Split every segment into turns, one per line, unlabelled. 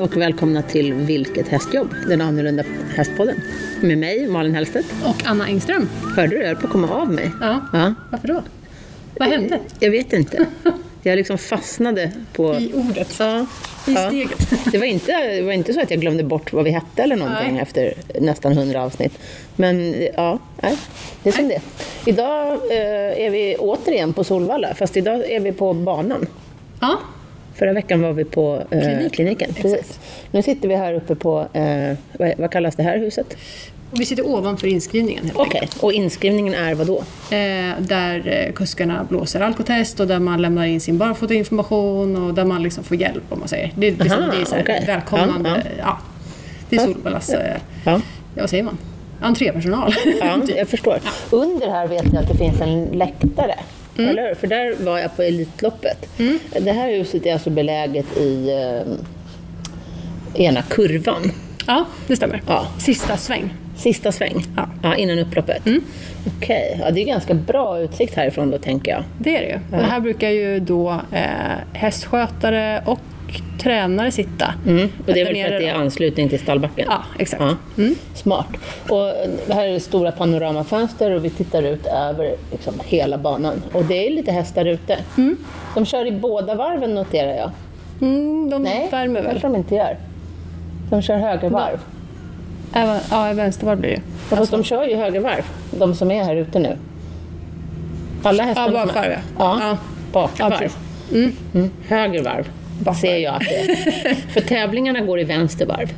och välkomna till Vilket hästjobb? Den annorlunda hästpodden. Med mig, Malin Hellstedt.
Och Anna Engström.
Hörde du? Jag höll på att komma av mig.
Ja.
Ja.
Varför då? Vad hände?
Jag vet inte. Jag liksom fastnade på...
I ordet.
Ja.
I
ja.
steget.
Det var, inte, det var inte så att jag glömde bort vad vi hette eller någonting
Nej.
efter nästan 100 avsnitt. Men ja, nej, det är som det Idag eh, är vi återigen på Solvalla, fast idag är vi på banan.
Ja.
Förra veckan var vi på eh,
Kliniken.
kliniken. Precis. Nu sitter vi här uppe på, eh, vad, vad kallas det här huset?
Och vi sitter ovanför inskrivningen. helt
Okej, och inskrivningen är vad då?
enkelt. Eh, där eh, kuskarna blåser alkotest och där man lämnar in sin barfotainformation och där man liksom får hjälp om man säger. Det är, liksom,
Aha,
det är så här
okej.
välkomnande.
Ja,
Ja, Det är Solvallas, eh,
Ja.
ja, vad säger man? Entrépersonal.
Ja, jag förstår. Under här vet jag att det finns en läktare.
Mm.
Eller hur? För där var jag på Elitloppet. Det här huset är alltså beläget i eh, ena kurvan.
ja, det stämmer.
Ja.
Sista sväng.
Sista sväng,
Ja. Mm.
innan upploppet. Okej, ja, det är ganska bra utsikt härifrån då tänker jag.
Det är det ju. Och här brukar ju då eh, hästskötare och tränare sitta.
Och det är väl
Där
för att
nere
det är anslutning till stallbacken?
Mm. Ja, exakt.
Ja. Mm. Smart. Och det här är stora panoramafönster och vi tittar ut över liksom hela banan. Och det är lite hästar ute. De kör i båda varven noterar jag.
Mm, de
Nej,
värmer väl?
kanske de inte gör. De kör högervarv.
Även, ja, vänstervarv blir det ju.
Fast
Alltså-
de kör ju högervarv, de som är här ute nu. Alla hästar
Ja, bakvarv,
ja.
ja.
Ja,
Ja. Ja,
bakvarv.
precis.
Mm, Högervarv
Bakvarv.
ser jag att det är. För tävlingarna går i vänstervarv,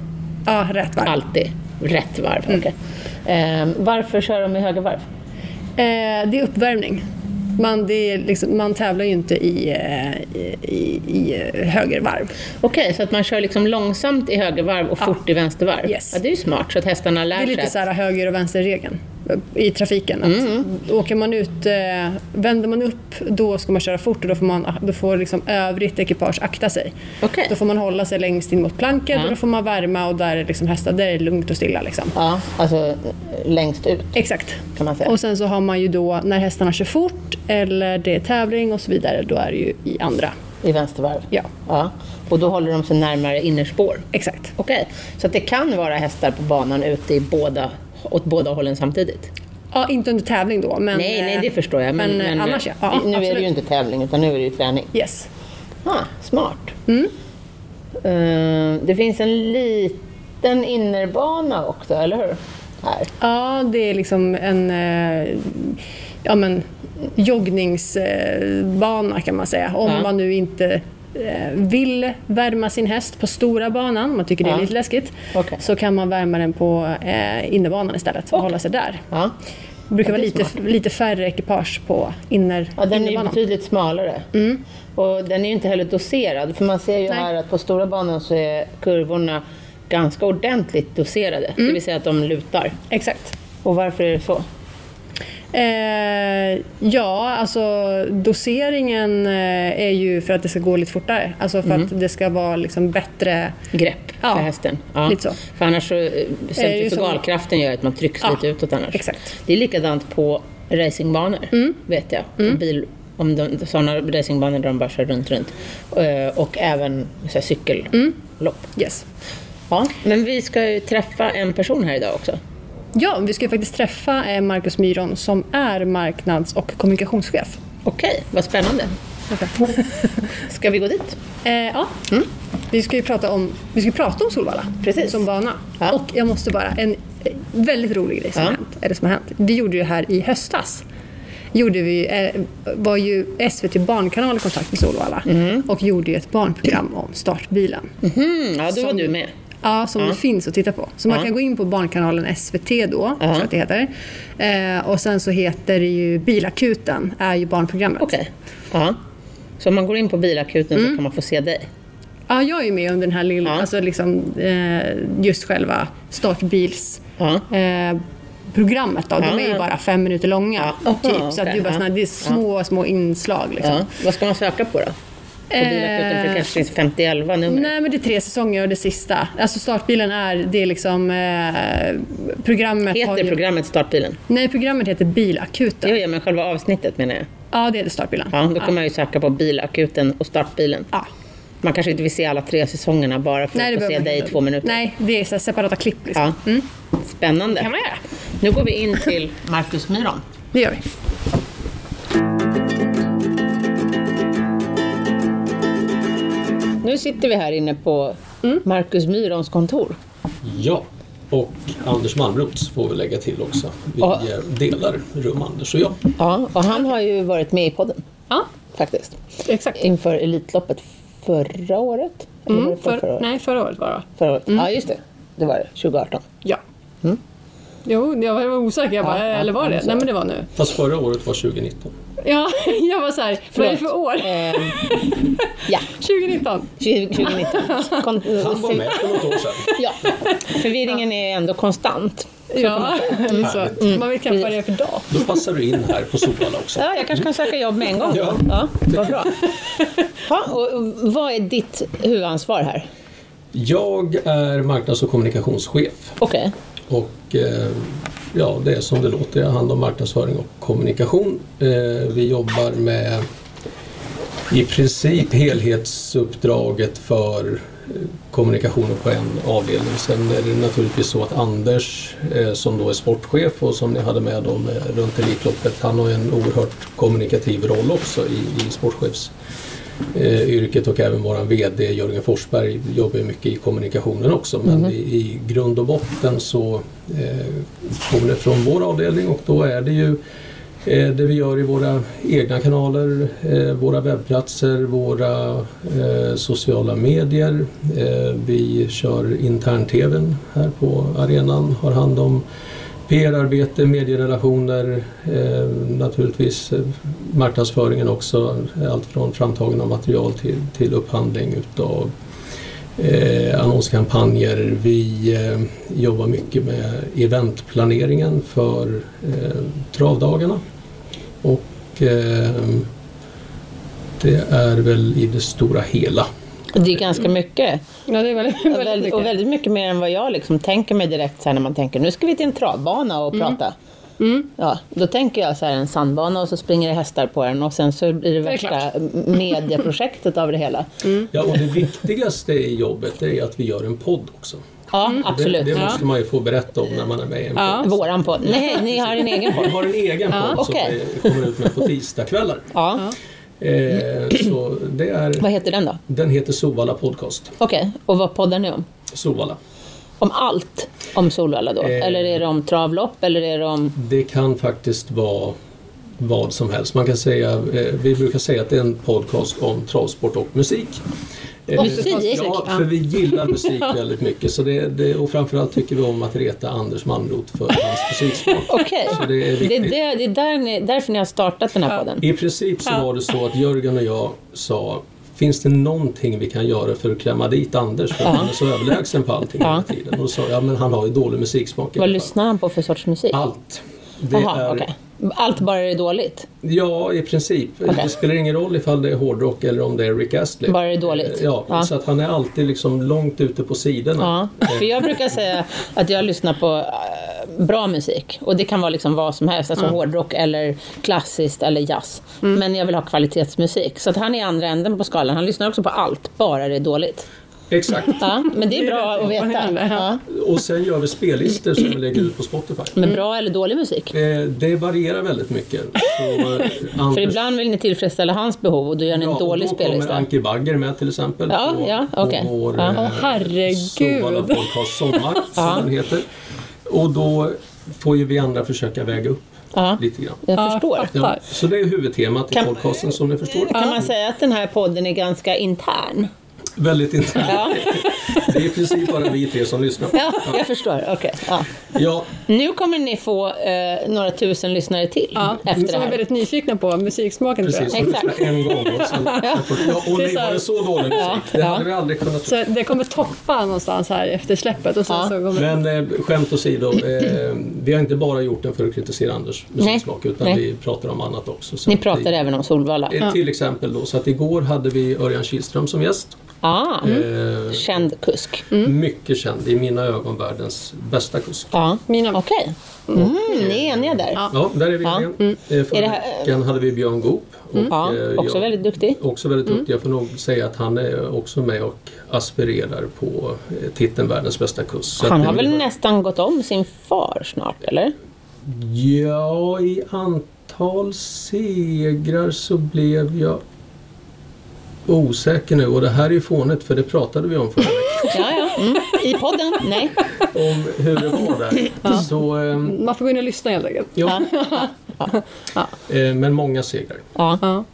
Ja, rätt varv.
alltid. Rätt varv. okej. Ehm, varför kör de i högervarv?
Eh, det är uppvärmning. Man, det är liksom, man tävlar ju inte i, eh, i, i, i eh, högervarv.
Okej, så att man kör liksom långsamt i högervarv och fort i vänstervarv?
Yes.
Ja, det är ju smart, så att hästarna lär
Det är
sig.
lite
att-
så här höger och vänsterregeln i trafiken. Att Åker man ut, eh, vänder man upp, då ska man köra fort och då får, man, då får liksom övrigt ekipage akta sig.
Okej.
Då får man hålla sig längst in mot planket och då får man värma och där är liksom hästar, där är det lugnt och stilla. Liksom.
Ja, alltså längst ut
Exakt.
kan man säga.
Och sen så har man ju då när hästarna kör fort eller det är tävling och så vidare, då är det ju i andra.
I vänstervarv?
Ja.
ja. Och då håller de sig närmare innerspår?
Exakt.
Okej, så att det kan vara hästar på banan ute i båda, åt båda hållen samtidigt?
Ja, inte under tävling då, men...
nej, nej, det förstår jag. Men,
men, eh, annars ja. Ja,
nu är det ju
absolut.
inte tävling, utan nu är det ju träning.
Yes.
Ah, smart. Eh, det finns en liten innerbana också, eller hur? Här.
Ja, det är liksom en eh, ja, men, joggningsbana kan man säga. Om
Ja.
man nu inte eh, vill värma sin häst på stora banan, man tycker det är
Ja.
lite läskigt,
Okej.
så kan man värma den på eh, innerbanan istället och hålla sig där.
Ja.
Det brukar vara
det är
lite, lite färre ekipage på inner,
Ja, den är ju
innerbanan.
betydligt smalare. Och den är ju inte heller doserad. För man ser ju
Nej.
här att på stora banan så är kurvorna ganska ordentligt doserade. Det vill säga att de lutar.
Exakt.
Och varför är det så?
Eh, ja, alltså doseringen eh, är ju för att det ska gå lite fortare. Alltså
Mm.
för att det ska vara liksom bättre
Grepp
Ja,
för hästen.
lite så.
För annars så eh, centrifugalkraften gör att man trycks
Ja,
lite utåt annars.
exakt. Mm.
Det är likadant på racingbanor, vet jag. Bil, om de, sådana racingbanor där de bara kör runt, runt. Eh, Och även så här, cykellopp.
Mm. Yes.
Ja, men vi ska ju träffa en person här idag också.
Ja, vi ska ju faktiskt träffa eh, Marcus Myron som är marknads och kommunikationschef.
Okej, vad spännande. Ska vi gå dit?
Eh, ja. Vi ska ju prata om, vi ska ju prata om Solvalla
Mm. Precis.
som bana.
Ja.
Och jag måste bara, en eh, väldigt rolig grej som,
Ja.
har hänt, eller som har hänt. Vi gjorde ju här i höstas. Gjorde vi, eh, var ju SVT Barnkanal i kontakt med Solvalla och gjorde ju ett barnprogram om startbilen.
Mm, ja, då var du med.
Ja, som det finns att titta på. Så man kan gå in på Barnkanalen SVT då, tror jag att det heter. Eh, och sen så heter det ju Bilakuten, är ju barnprogrammet.
Okej. Ja. Så om man går in på bilakuten
Mm.
så kan man få se dig.
Ja, jag är ju med under den här lilla,
Ja.
alltså liksom, eh, just själva startbils...
Ja.
Eh, programmet då,
Ja,
de är ju
ja.
bara fem minuter långa.
Ja.
Typ,
Aha,
så att
okej,
det, är bara
ja.
såna, det är små, små inslag. Liksom. Eh,
Ja. Vad ska man söka på då? På bilakuten, för det kanske finns 5011 nummer.
Nej, men det är tre säsonger och det sista. Alltså startbilen är, det är liksom eh, programmet... har
Heter
ju-
programmet Startbilen?
Nej, programmet heter Bilakuten.
Jo, ja, men själva avsnittet menar jag.
Ja, det är det startbilen.
Ja, då kan man ju söka på bilakuten och startbilen.
Ja.
Man kanske inte vill se alla tre säsongerna bara för
Nej, det
att få se
behöver man
dig i
inte.
två minuter.
Nej, det är så här separata klipp. Liksom.
Ja. Spännande.
Det kan man göra.
Nu går vi in till Marcus Myron.
Det gör vi.
Nu sitter vi här inne på
Mm.
Marcus Myrons kontor.
Ja, och Anders Malmroth får vi lägga till också. Vi
Ja.
eh, delar rum, Anders och jag.
Ja, och han har ju varit med i podden
Ja,
faktiskt.
exakt.
Inför Elitloppet förra året? Eller var
Mm,
det för,
för,
förra året?
nej, förra året var det va?
Förra året.
Mm.
Ja, just det. Det var det. 2018.
Ja. Jo, jag var osäker. Jag bara,
Mm. Ja, ja,
eller var det?
så.
Nej, men det var nu.
Fast förra året var 2019.
Ja, jag var så här, vad är det för år?
Ehm, ja,
2019.
20- 2019. Kon-
Han var med för något år sedan.
Ja, förvirringen är ändå konstant.
Ja, eller så. mm. Man vet
Mm.
knappt vad det är för dag.
Då passar du in här på Solvalla också.
Ja, jag kanske kan söka jobb med en gång.
Ja.
ja vad bra. Ja, och och vad är ditt huvudansvar här?
Jag är marknads och kommunikationschef
Okej.
och eh, ja, det är som det låter. Jag har hand om marknadsföring och kommunikation. Eh, Vi jobbar med i princip helhetsuppdraget för eh, kommunikationen på en avdelning. Sen är det naturligtvis så att Anders eh, som då är sportchef och som ni hade med då med, runt Elitloppet, han har ju en oerhört kommunikativ roll också i, i sportchefs eh, yrket och även våran VD Jörgen Forsberg jobbar ju mycket i kommunikationen också men i, i grund och botten så eh, kommer det från vår avdelning och då är det ju eh, det vi gör i våra egna kanaler, eh, våra webbplatser, våra eh, sociala medier. Eh, vi kör intern-TVn här på arenan, har hand om PR-arbete, medierelationer, eh, naturligtvis eh, marknadsföringen också. Allt från framtagande av material till, till upphandling utav eh, annonskampanjer. Vi eh, jobbar mycket med eventplaneringen för eh, travdagarna. Och eh, det är väl i det stora hela.
Och Det är ganska mycket.
Ja, det är väldigt,
Och
väldigt
väldigt, och
mycket.
väldigt mycket mer än vad jag liksom tänker mig direkt så här när man tänker nu ska vi till en travbana och
Mm.
prata. Ja, då tänker jag så här en sandbana och så springer det hästar på den och sen så blir det,
är
värsta medieprojektet av det hela.
Mm.
Ja, och det viktigaste i jobbet det är att vi gör en podd också.
Ja,
Mm.
absolut.
Det, det måste man ju få berätta om när man är med i en podd.
Våran podd. Nej, ni har en egen
Vi
podd.
har en egen podd som
Okej.
vi kommer ut med på tisdagskvällar.
Ja.
Eh, så det är,
Vad heter den då?
den heter Sovalla Podcast.
Okej, och vad poddar ni om?
Sovalla.
Om allt om Solvalla då?
Eh.
Eller är det om travlopp? Eller är det om...
Det kan faktiskt vara vad som helst. Man kan säga, eh, vi brukar säga att det är en podcast om travsport och musik. Eh,
Musik?
Ja, för vi gillar musik väldigt mycket. Så det, det, och framförallt tycker vi om att reta Anders Malmroth för hans musiksmak.
Okej,
Så det är
det är,
viktigt.
det, det är där ni, därför ni har startat den här podden.
I princip så var det så att Jörgen och jag sa Finns det någonting vi kan göra för att klämma dit Anders? För han är så överlägsen på allting hela tiden. Och då sa jag, men han har ju dålig musiksmak. i
Vad
alla fall."
lyssnar han på för sorts musik?
Allt. Det
Jaha,
är,
okej. Allt bara är dåligt?
Ja, i princip. Det spelar ingen roll ifall det är hårdrock eller om det är Rick Astley.
Bara det är dåligt.
Eh, Ja,
Ja.
så att han är alltid liksom långt ute på sidorna.
Ja, för jag brukar säga att jag lyssnar på eh, bra musik. Och det kan vara liksom vad som helst, alltså hårdrock eller klassiskt eller jazz. Men jag vill ha kvalitetsmusik. Så att han är i andra änden på skalan. Han lyssnar också på allt, bara det är dåligt.
Exakt.
Ja, men det är bra att
man
veta.
händer, ja.
Ja.
Och sen gör vi spellistor som vi lägger ut på Spotify.
Men bra eller dålig musik?
Eh, Det varierar väldigt mycket. Så, eh, Anders...
För ibland vill ni tillfredsställa hans behov och då gör ni en
Ja,
dålig
och då kommer
spellista.
Anki Bagger med till exempel.
Ja,
på,
ja, okej.
På vår
Ja.
eh,
Åh, herregud.
Solvalla Podcast Sommar, som den heter. Och då får ju vi andra försöka väga upp
Ja.
lite grann.
Jag
Ja,
förstår.
fakt-
Ja,
Tack.
så det är huvudtemat i
Kan-
podcasten som ni förstår.
Kan man säga att den här podden är ganska intern?
Väldigt intressant.
Ja,
Det är i princip bara vi tre som lyssnar.
ja jag förstår. Okej. Ja.
Ja,
Nu kommer ni få eh, några tusen lyssnare till
Ja,
efter det
som är
här.
väldigt nyfikna på musiksmaken tror jag.
precis. Som
Exakt.
lyssnar en gång. Och, sen, ja. och
Det är
nej,
så här-
var det så dålig musik?
Ja,
Det
ja.
hade vi aldrig kunnat tro.
Så det kommer toppa någonstans här efter släppet och sen
Ja.
så kommer
Men eh, skämt åsido, eh, vi har inte bara gjort den för att kritisera Anders musiksmak utan
Nej.
vi pratar om annat också. Så
Ni
att
pratar
vi,
även om Solvalla.
eh, Till exempel då, så att igår hade vi Örjan Kihlström som gäst.
Ah,
Eh,
Känd kusk.
Mm.
Mycket känd, i mina ögon världens bästa kusk.
Ja,
Mina-
okej. Mm, ni är eniga där.
Ja.
Ja, där är vi
Ja. Mm.
igen. Eh,
Är det
Förra
här- Mm.
veckan hade vi Björn Goop. och,
Ja,
eh,
också
jag-
väldigt Mm. duktig.
Också väldigt duktig. Jag får nog säga att han är också med och aspirerar på eh, titeln världens bästa kusk. Så
Han
att
har
det-
väl nästan gått om sin far snart, eller?
Ja, i antal segrar så blev jag osäker nu och det här är ju fånigt för det pratade vi om förra veckan.
Ja, ja. Mm. I podden? Nej.
Om hur det var där. Så, eh,
Man får gå in och lyssna helt enkelt.
ja,
Ja.
eh, men många segrar.
Ja.
Ja.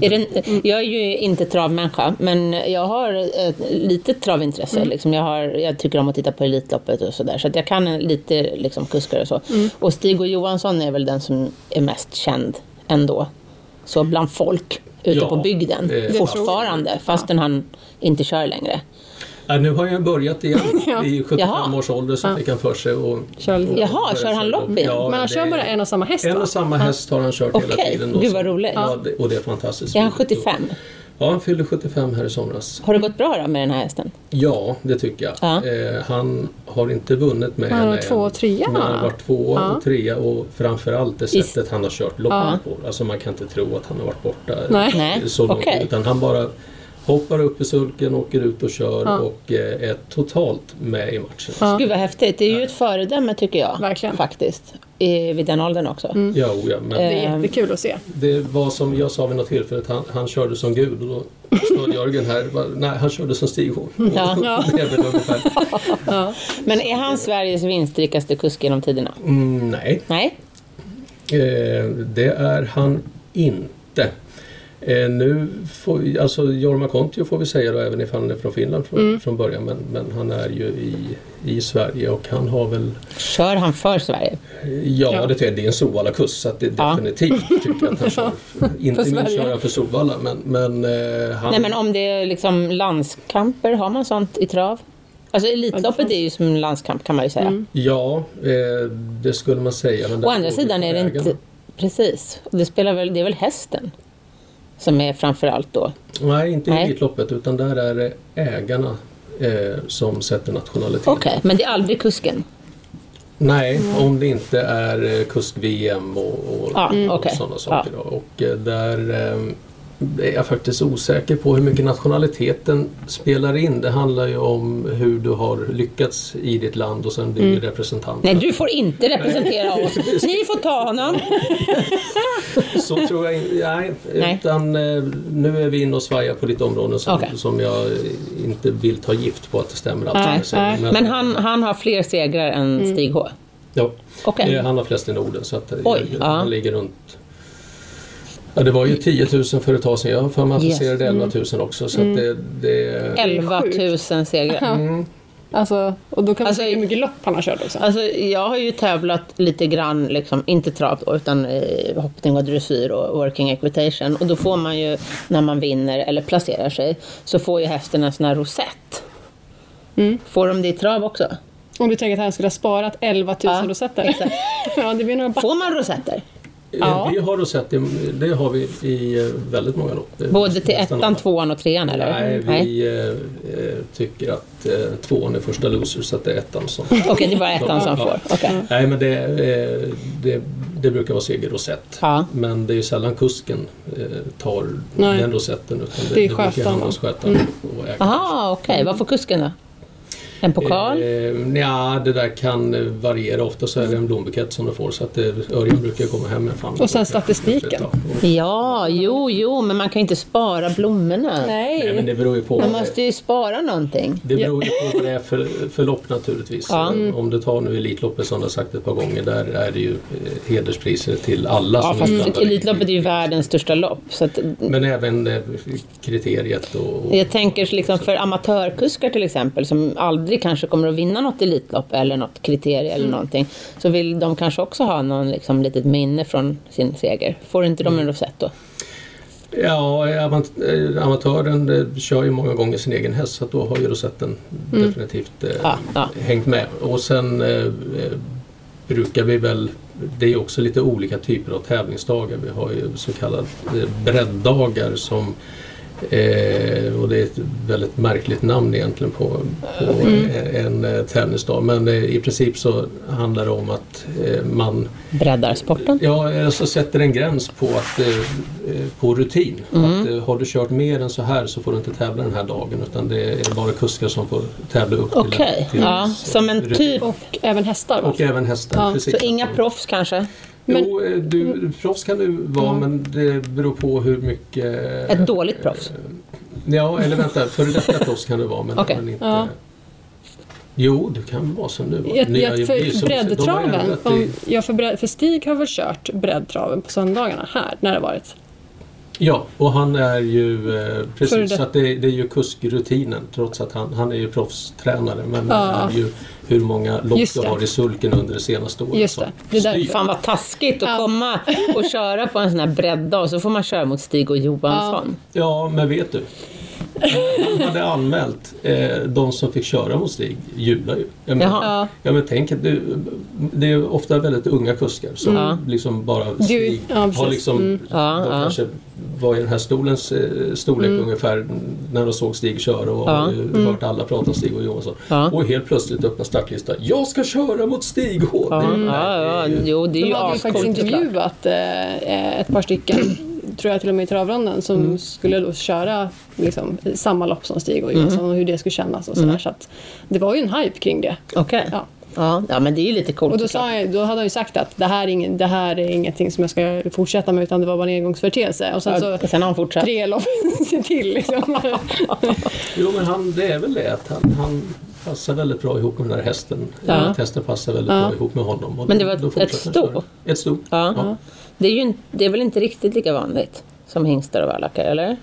Är det,
Mm.
jag är ju inte travmänniska, men jag har ett litet travintresse.
Mm.
Liksom jag, har, jag tycker om att titta på Elitloppet och sådär. Så att jag kan lite liksom, kuskar och så.
Mm.
Och Stig och Johansson är väl den som är mest känd ändå. Så bland folk ute
Ja,
på bygden
det- det
fortfarande, fastän han inte kör längre.
Äh, nu har jag börjat igen
Ja.
i 75
Jaha.
års ålder så fick han för sig och,
Kör lite.
och
Jaha,
börja
kör
köra
han lopp igen?
Men han
det
kör
är-
bara en och samma häst
En
va?
och samma häst har han kört hela
Okej,
tiden.
gud,
så-
vad roligt.
Ja, det, och det är fantastiskt.
Är han 75?
Ja, han fyllde 75 här i somras.
Har det gått bra då med den här hästen?
Ja, det tycker jag.
Ja.
Eh, han har inte vunnit med
Han har
henne
två och trea,
Men han
va?
har varit tvåa
Ja.
och trea och framförallt det
Is-
sättet han har kört loppet på. Alltså man kan inte tro att han har varit borta
Nej.
Nej,
så långt.
okej.
Utan han bara hoppar upp i sulken, åker ut och kör
Ja.
och eh, är totalt med i matchen.
Ja.
Gud vad häftigt. Det är ju ett föredöme tycker jag.
Verkligen. Mm.
Faktiskt. I, vid den åldern också.
Ja, o ja, men
Det är jättekul att se.
det var som jag sa vid något tillfälle, att han, han körde som Gud och då stod Jörgen här, va, nej han körde som Stig Horn.
Ja.
Ja.
Det är väl ungefär.
Men är han Sveriges vinstrikaste kusk genom tiderna?
Mm, nej.
Nej?
Eh, det är han inte. Eh, nu får, alltså Jorma Kontio får vi säga då, även ifall han är från Finland från, från början, men, men han är ju i, i Sverige och han har väl, eh,
Kör han för Sverige?
ja,
Ja.
det det, är- det är en Sovalla-kurs så att det
Ja.
definitivt tycker jag att han kör. Inte minst
Sverige.
kör han för Sovalla, men, men eh, han...
Nej men om det är liksom landskamper, har man sånt i trav? Alltså Elitloppet är ju som en landskamp kan man ju säga.
Mm. Ja, eh, det skulle man säga. Men där
Å andra
går vi
sidan
på
är det
vägarna.
inte... Precis. Det, spelar väl, det är väl hästen som är framförallt då?
Nej, inte i
Nej.
Elitloppet utan där är det ägarna eh, som sätter nationalitet.
Okej, men det är aldrig kusken?
Nej, om det inte är eh, kusk-VM och, och,
Ja, mm,
och
okej.
sådana saker. Då. Och eh, där eh, är jag faktiskt osäker på hur mycket nationaliteten spelar in. Det handlar ju om hur du har lyckats i ditt land och sen blir du representant.
Mm. Nej, du får inte representera oss. Ni får ta honom.
Så tror jag inte. Nej,
Nej.
utan eh, nu är vi inne och svajar på lite områden som,
Okej.
som jag eh, inte vill ta gift på att det stämmer allt som
Nej,
jag säger.
nej.
Men han, han har fler segrar än Stig H.
Ja,
Okej.
eh, han har flest i Norden så att eh,
Oj,
jag,
ja.
han ligger runt Ja, det var ju 10 000 för ett tag sedan. Jag har för mig att
Yes. Mm. Eh,
passerade 11 000 också. Så att det, det,
11
sjukt.
000 segrar.
Alltså, och då kan man
Alltså,
se hur mycket lopp han har kört också.
Alltså, jag har ju tävlat lite grann, liksom, inte trav då, utan eh, hoppning och dressyr och working equitation. Och då får man ju, när man vinner eller placerar sig, så får ju hästen en sån här rosett. Får de det i trav också?
Om du tänker att han skulle ha sparat 11 000
Ja,
rosetter.
exakt.
ja, det blir några back.
Får man rosetter?
Ja.
eh, vi har då sett det, det har vi i eh, väldigt många lopp. Eh,
Både till
nästan
ettan,
alla.
tvåan och trean eller? Mm,
Nej, vi eh, eh, tycker att eh, tvåan är första loser så att det är ettan som...
Okej, det är bara ettan som
Ja.
får. Okej.
Nej, men det, eh, det, det brukar vara seger rosett.
Ja.
Men det är ju sällan kusken eh, tar
Nej.
den rosetten. Utan det,
Det är
det brukar
skötaren.
hamna hos skötaren och ägaren.
Mm. Aha, okej. Vad får kusken då? En pokal?
Eh, ja, det där kan eh, variera. Ofta så är det en blombukett som du får så att eh, Örjan brukar komma hem med familjen.
Och sen statistiken.
Ja, och-
Ja, jo, jo, men man kan ju inte spara blommorna.
Nej.
Nej, men det beror ju på.
Man måste ju spara någonting.
Det beror ju på vad det är för, för lopp naturligtvis.
Ja.
Eh, Om du tar nu Elitloppet som du har sagt ett par gånger, där är det ju eh, hederspriser till alla.
Ja,
som
fast
inblandade.
Alltså, mm, Elitloppet är ju världens största lopp. Så att,
Men även eh, kriteriet och... och
jag tänker liksom för amatörkuskar till exempel som aldrig kanske kommer att vinna något Elitlopp eller något kriterie
Mm.
eller någonting. Så vill de kanske också ha någon liksom, litet minne från sin seger. Får inte
Mm.
de en rosett då?
Ja, amant- eh, amatören eh, kör ju många gånger sin egen häst så att då har ju rosetten definitivt eh,
Mm. Ja, ja.
hängt med. Och sen eh, eh, brukar vi väl, det är ju också lite olika typer av tävlingsdagar. Vi har ju så kallade eh, bredddagar som Eh, och det är ett väldigt märkligt namn egentligen på, på eh, en eh, tävlingsdag. Men eh, i princip så handlar det om att eh, man
Breddar sporten.
Ja, så sätter en gräns på, att, eh, eh, på rutin.
Mm.
Att, eh, har du kört mer än så här så får du inte tävla den här dagen utan det är bara kuskar som får tävla upp till,
Okej,
till
ja,
s-
som en
rutin.
typ.
Och även hästar. va?
Och även hästen.
Ja,
precis.
Så inga proffs kanske?
Jo, eh, du, proffs kan du vara men det beror på hur mycket...
Ett dåligt proffs?
Ja, eller vänta, före detta proffs kan du vara men,
Okej,
men inte...
ja.
Jo, du kan vara som nu var.
Jag,
Nya-
jag,
det är
för
så- de har
breddtraven,
ändrat i-
om, jag för, bredd, för Stig har väl kört breddtraven på söndagarna här när det varit.
Ja, och han är ju eh,
För det-
precis, så att det, det är ju kuskrutinen trots att han, han är ju proffstränare men
Ja.
det är ju hur många lopp
Just
du
det.
har i sulken under det senaste året.
Just
som
det. Det där-
styr.
Fan vad taskigt att
Ja.
komma och köra på en sån här bredda och så får man köra mot Stig och Johansson.
Ja, men vet du? Han hade anmält eh, de som fick köra mot Stig jublar ju. Jag menar,
Jaha.
Ja.
Ja men tänk att du, det är ofta väldigt unga kuskar som
Ja.
liksom bara Stig
Mm. ja,
har
precis. Mm.
liksom,
Ja,
de
ja.
kanske var i den här stolens eh, storlek
Mm.
ungefär när de såg Stig köra och
Ja.
har ju hört alla prata om Stig och Johansson.
Ja.
Och helt plötsligt öppnar startlistan. Jag ska köra mot Stig H.
Ja,
Det-
ja, ja,
det är ju-
jo det är
Mm. De
ju
hade ju faktiskt
ascoolt såklart.
intervjuat eh, ett par stycken, tror jag till och med i travronden, som
Mm.
skulle då köra liksom, samma lopp som Stig och Johansson
Mm.
och hur det skulle kännas och sådär. Så att det var ju en hype kring det.
Okej.
Ja.
Ja. ja, men det är ju lite coolt
Och då,
såklart.
sa jag, då hade han ju sagt att det här, är ingen, det här är ingenting som jag ska fortsätta med utan det var bara en engångsföreteelse. Och sen så
Ja, Sen har han fortsatt.
alltså- tre lopp till liksom.
Jo men han, det är väl det att han, han passar väldigt bra ihop med den där hästen.
Ja.
Att hästen passar väldigt bra ihop med honom. och
Men det
då-
var
då
ett-
fortsätter
ett
han
sto?
köra. Ett sto.
Ja.
Ja.
Det, är ju, inte- det är väl inte riktigt lika vanligt som hingstar och vallackar, eller?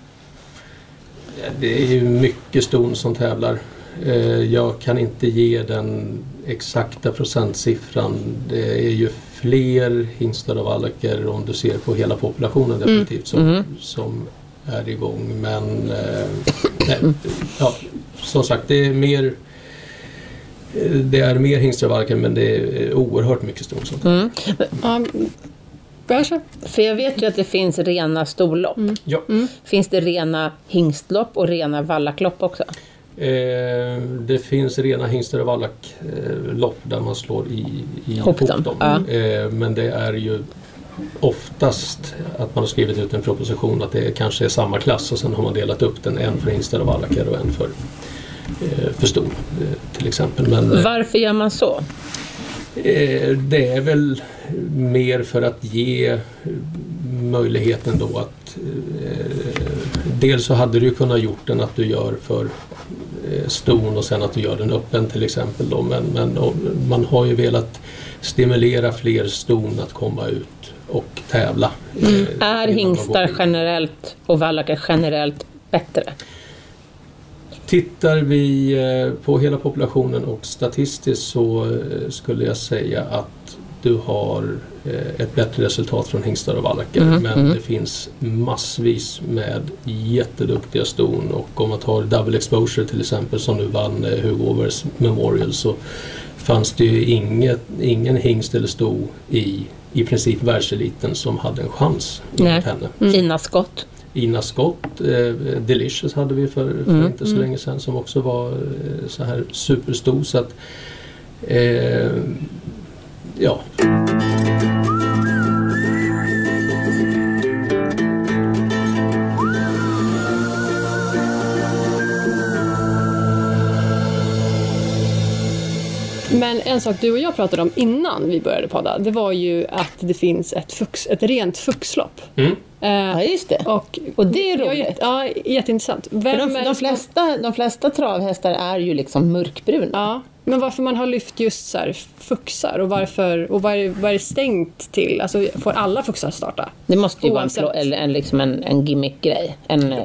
Ja, Det är ju mycket ston som tävlar. Eh, Jag kan inte ge den exakta procentsiffran. Det är ju fler hingstar och valacker om du ser på hela populationen definitivt som, som är igång. Men eh, nej, ja, som sagt det är mer eh, det är mer hingstar och valacker men det är oerhört mycket ston som
Mm.
tävlar.
Mm. ja, kanske.
För jag vet ju att det finns rena storlopp.
Mm.
Ja.
Finns det rena hingstlopp och rena vallacklopp också?
Eh, det finns rena hingstar och vallack-lopp där man slår i, i
Ihop
ihop
dem,
dem.
ja.
Eh, men det är ju oftast att man har skrivit ut en proposition att det kanske är samma klass och sen har man delat upp den en för hingstar och vallackar och en för, eh, för ston eh, till exempel. Men, eh,
Varför gör man så?
Eh, Det är väl mer för att ge möjligheten då att eh, dels så hade du ju kunnat gjort den att du gör för eh, ston och sen att du gör den öppen till exempel då men, men och man har ju velat stimulera fler ston att komma ut och tävla. eh,
Mm. Är
innan man går
hingstar
in.
generellt och vallackar generellt bättre?
Tittar vi eh, på hela populationen och statistiskt så eh, skulle jag säga att du har eh, ett bättre resultat från hingstar och vallacker. Men det finns massvis med jätteduktiga ston och om man tar double exposure till exempel som nu vann eh, Hugo Overs Memorial så fanns det ju inget, ingen hingst eller sto i i princip världseliten som hade en chans mot henne.
Mm.
Ina Skott?
Ina Scott, eh, Delicious hade vi för, för
Mm,
inte så länge sedan som också var eh, så här superstor. Så att, eh, ja.
Men en sak du och jag pratade om innan vi började podda, det var ju att det finns ett, fux, ett rent fuxlopp.
Mm.
Eh,
Ja, just det.
och,
Och det är
jag ju-
roligt.
Ja, jätteintressant.
För
Vem
de,
är
de,
det som-
flesta, de flesta travhästar är ju liksom mörkbruna.
Ja, men varför man har lyft just så här fuxar och varför och vad är, vad är det stängt till? Alltså får alla fuxar starta?
Det måste ju
Oavsett.
vara en, plå- eller en, liksom en, en gimmick-grej. En eh,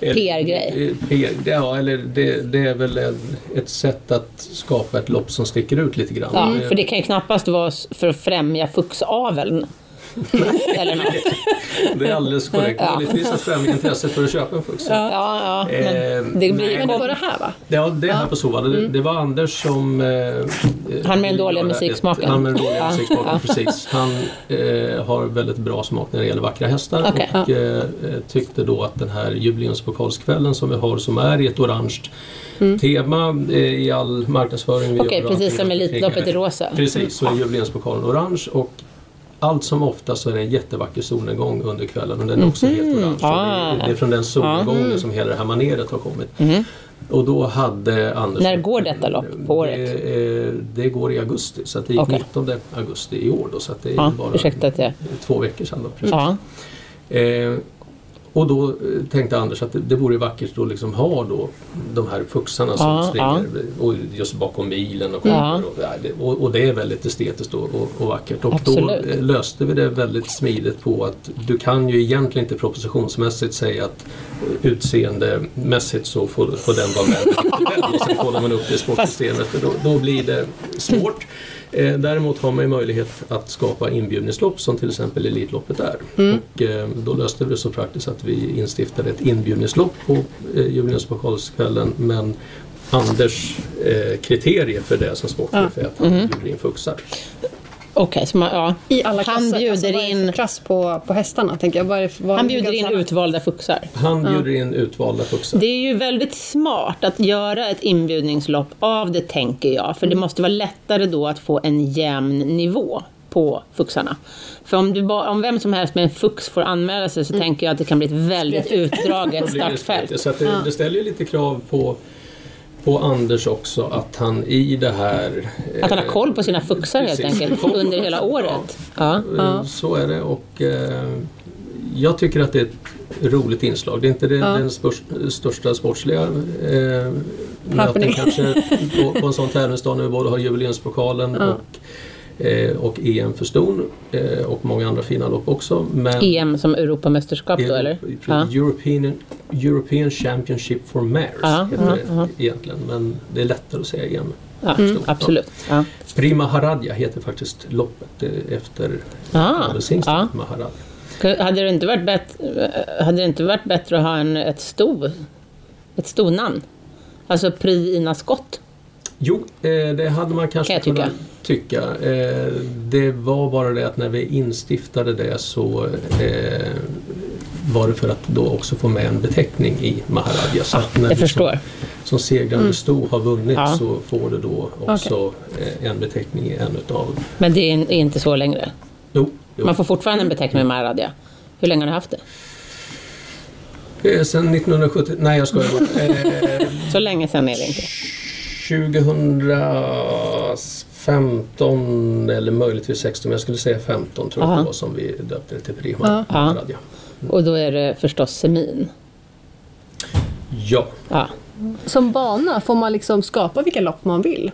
PR-grej.
Eh, PR, ja, eller det, det är väl en, ett sätt att skapa ett lopp som sticker ut lite grann.
Ja,
Eh,
För det kan ju knappast vara s- för att främja fuxaveln. Eller något.
Det är alldeles korrekt.
Ja.
Möjligtvis att främja intresset för att köpa en Fuxa.
Ja.
Ja, ja.
Eh,
Men det blir
Men
ju
det var det här va?
Ja, det är här på Sova. Det, det var Anders som... eh,
Han med den dåliga
gjorde ett-
musiksmaken.
Han med den dåliga
Ja.
musiksmaken, precis. Han eh, har väldigt bra smak när det gäller vackra hästar
Okej.
och eh, eh, tyckte då att den här jubileumspokalskvällen som vi har som är i ett orange tema eh, i all marknadsföring vi
Mm. Okej,
gör.
precis som
Allting
Elitloppet i rosa.
Precis, så är jubileumspokalen orange och allt som ofta så är det en jättevacker solnedgång under kvällen och den är också helt orange. Så
Ah. Mm.
Det, det är från den solnedgången som hela det här maneret har kommit. Och då hade Anders...
När går detta lopp på året?
Det, eh, det går i augusti, så att det gick
Okej.
19 augusti i år. Då, så att det är
Ja,
bara
ursäkta att jag...
två veckor sedan. Då, precis.
Ja.
Eh, och då eh, tänkte Anders att det, det vore vackert att liksom ha då de här fuxarna som
Ja,
springer och just bakom bilen och,
Ja.
kommer och, ja, det- och, och det är väldigt estetiskt och, och, och vackert. Och då
Absolut.
eh, löste vi det väldigt smidigt på att du kan ju egentligen inte propositionsmässigt säga att eh, utseendemässigt så får, får den vara med. och sen kollar man upp det i sportsystemet och då, då blir det svårt. Eh, däremot har man ju möjlighet att skapa inbjudningslopp som till exempel Elitloppet är. Och, eh, då löste vi det så praktiskt att vi instiftade ett inbjudningslopp på eh, jubileumspokalskvällen men Anders eh, kriterier för det som sportchef är att han bjuder in fuxar.
Okej, så man, ja.
I alla
Han
klasser.
bjuder
alltså, vad är det för
in-
klass på, på hästarna tänker jag. Vad är det för, vad
Han bjuder in
vilka-
utvalda fuxar.
Han bjuder in utvalda fuxar.
Det är ju väldigt smart att göra ett inbjudningslopp av det, tänker jag.
Mm.
För det måste vara lättare då att få en jämn nivå på fuxarna. För om, du ba, om vem som helst med en fux får anmäla sig så tänker jag att det kan bli ett väldigt utdraget
Då blir Mm. det
startfält.
spretigt. Så att det, det ställer ju lite krav på, på Anders också att han i det här... eh,
Att han har koll på sina fuxar helt
Precis.
enkelt under hela året. Ja.
eh, Så är det och eh, jag tycker att det är ett roligt inslag. Det är inte det, den spörs- största sportsliga eh, möten
Happening.
kanske på, på en sån tävlingsdag när vi både har jubileumspokalen och, eh, och EM för ston eh, och många andra fina lopp också. Men,
EM E som Europamästerskap då, eller?
Euro-
Ja.
European, European Championship for Mares
Ja,
heter
ja,
det egentligen, men det är lättare att säga igen.
Ja, absolut. Ja.
Prima Haradja heter faktiskt loppet eh, efter
Ah,
Abelsingst
ja.
Maharadja.
Hade det inte varit bättre, hade det inte varit bättre att ha en, ett sto, ett stonamn? Alltså Pri Ina Skott.
Jo, eh, det hade man kanske
Kan jag
kunnat tycka. Eh, Det var bara det att när vi instiftade det så eh, var det för att då också få med en beteckning i Maharadja. Så att
Ah,
när
Jag
du som-
förstår. Mm.
som segrande sto har vunnit
Ja.
så får du då också eh, en beteckning i en utav...
Men det är in- är inte så längre.
Jo, jo.
Man får fortfarande en beteckning med Maradja. Hur länge har du haft det?
Eh, Sen 1970... Nej, jag skojar bara. Eh,
Så länge sedan är det inte.
2015 eller möjligtvis 16, men jag skulle säga 15 tror jag
Aha.
det var som vi döpte det till Prima
Ja.
Maradja.
Och då är det förstås semin.
Ja.
Ja.
Som bana, får man liksom skapa vilka lopp man vill?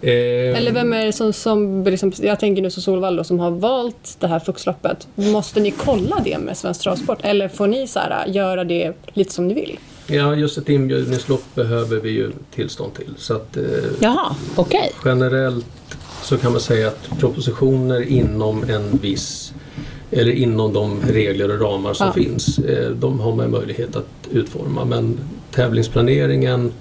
Eh,
Eller vem är det som, som liksom, jag tänker nu som Solvall då, som har valt det här fuxloppet. Måste ni kolla det med Svensk Travsport? Eller får ni så här, äh, göra det lite som ni vill?
Ja, just ett inbjudningslopp behöver vi ju tillstånd till. Så att, eh,
Jaha, okej.
Generellt så kan man säga att propositioner inom en viss eller inom de regler och ramar som
Ja.
finns, eh, de har man möjlighet att utforma. Men tävlingsplaneringen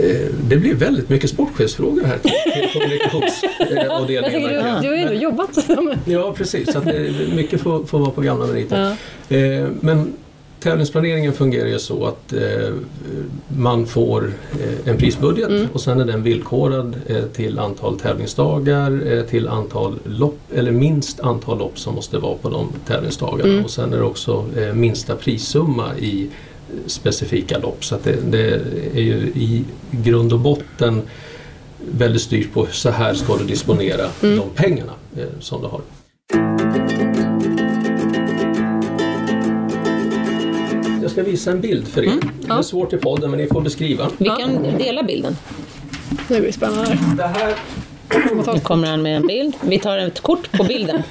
eh, det blir väldigt mycket sportchefsfrågor här till till
Jag
kommunikationsavdelningen.
tänker, du,
verkar.
du har ju ändå jobbat som...
Ja precis, så att det, mycket får, får vara på gamla meriter. Eh, men tävlingsplaneringen fungerar ju så att eh, man får eh, en prisbudget och sen är den villkorad eh, till antal tävlingsdagar, eh, till antal lopp eller minst antal lopp som måste vara på de tävlingsdagarna. Och sen är det också eh, minsta prissumma i eh, specifika lopp. Så att det, det är ju i grund och botten väldigt styrt på så här ska du disponera
Mm.
de pengarna eh, som du har. Jag ska visa en bild för er.
Mm,
Det är svårt i podden men ni får beskriva.
Vi kan dela bilden.
Nu blir det spännande.
Det här,
Nu kommer han med en bild. Vi tar ett kort på bilden.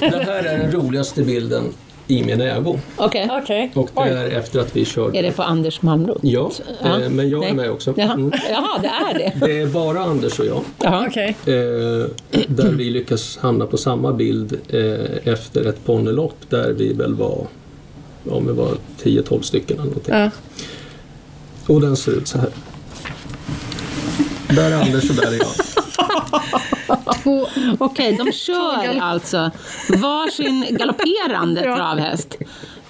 det här är den roligaste bilden i min ägo.
Okej.
Okej.
Och det
Oj.
är efter att vi körde.
Är det på Anders Malmroth?
Ja,
Ja.
eh, men jag
Nej.
är med också.
Jaha.
Mm.
Jaha, det är det.
Det är bara Anders och jag.
Jaha.
Okej.
Eh, där vi lyckas hamna på samma bild eh, efter ett ponnylopp där vi väl var, ja, vi var 10-12 stycken eller någonting.
Ja.
Och den ser ut så här. Där är Anders och där är jag.
Två- Okej, de kör alltså varsin galopperande
Ja.
travhäst.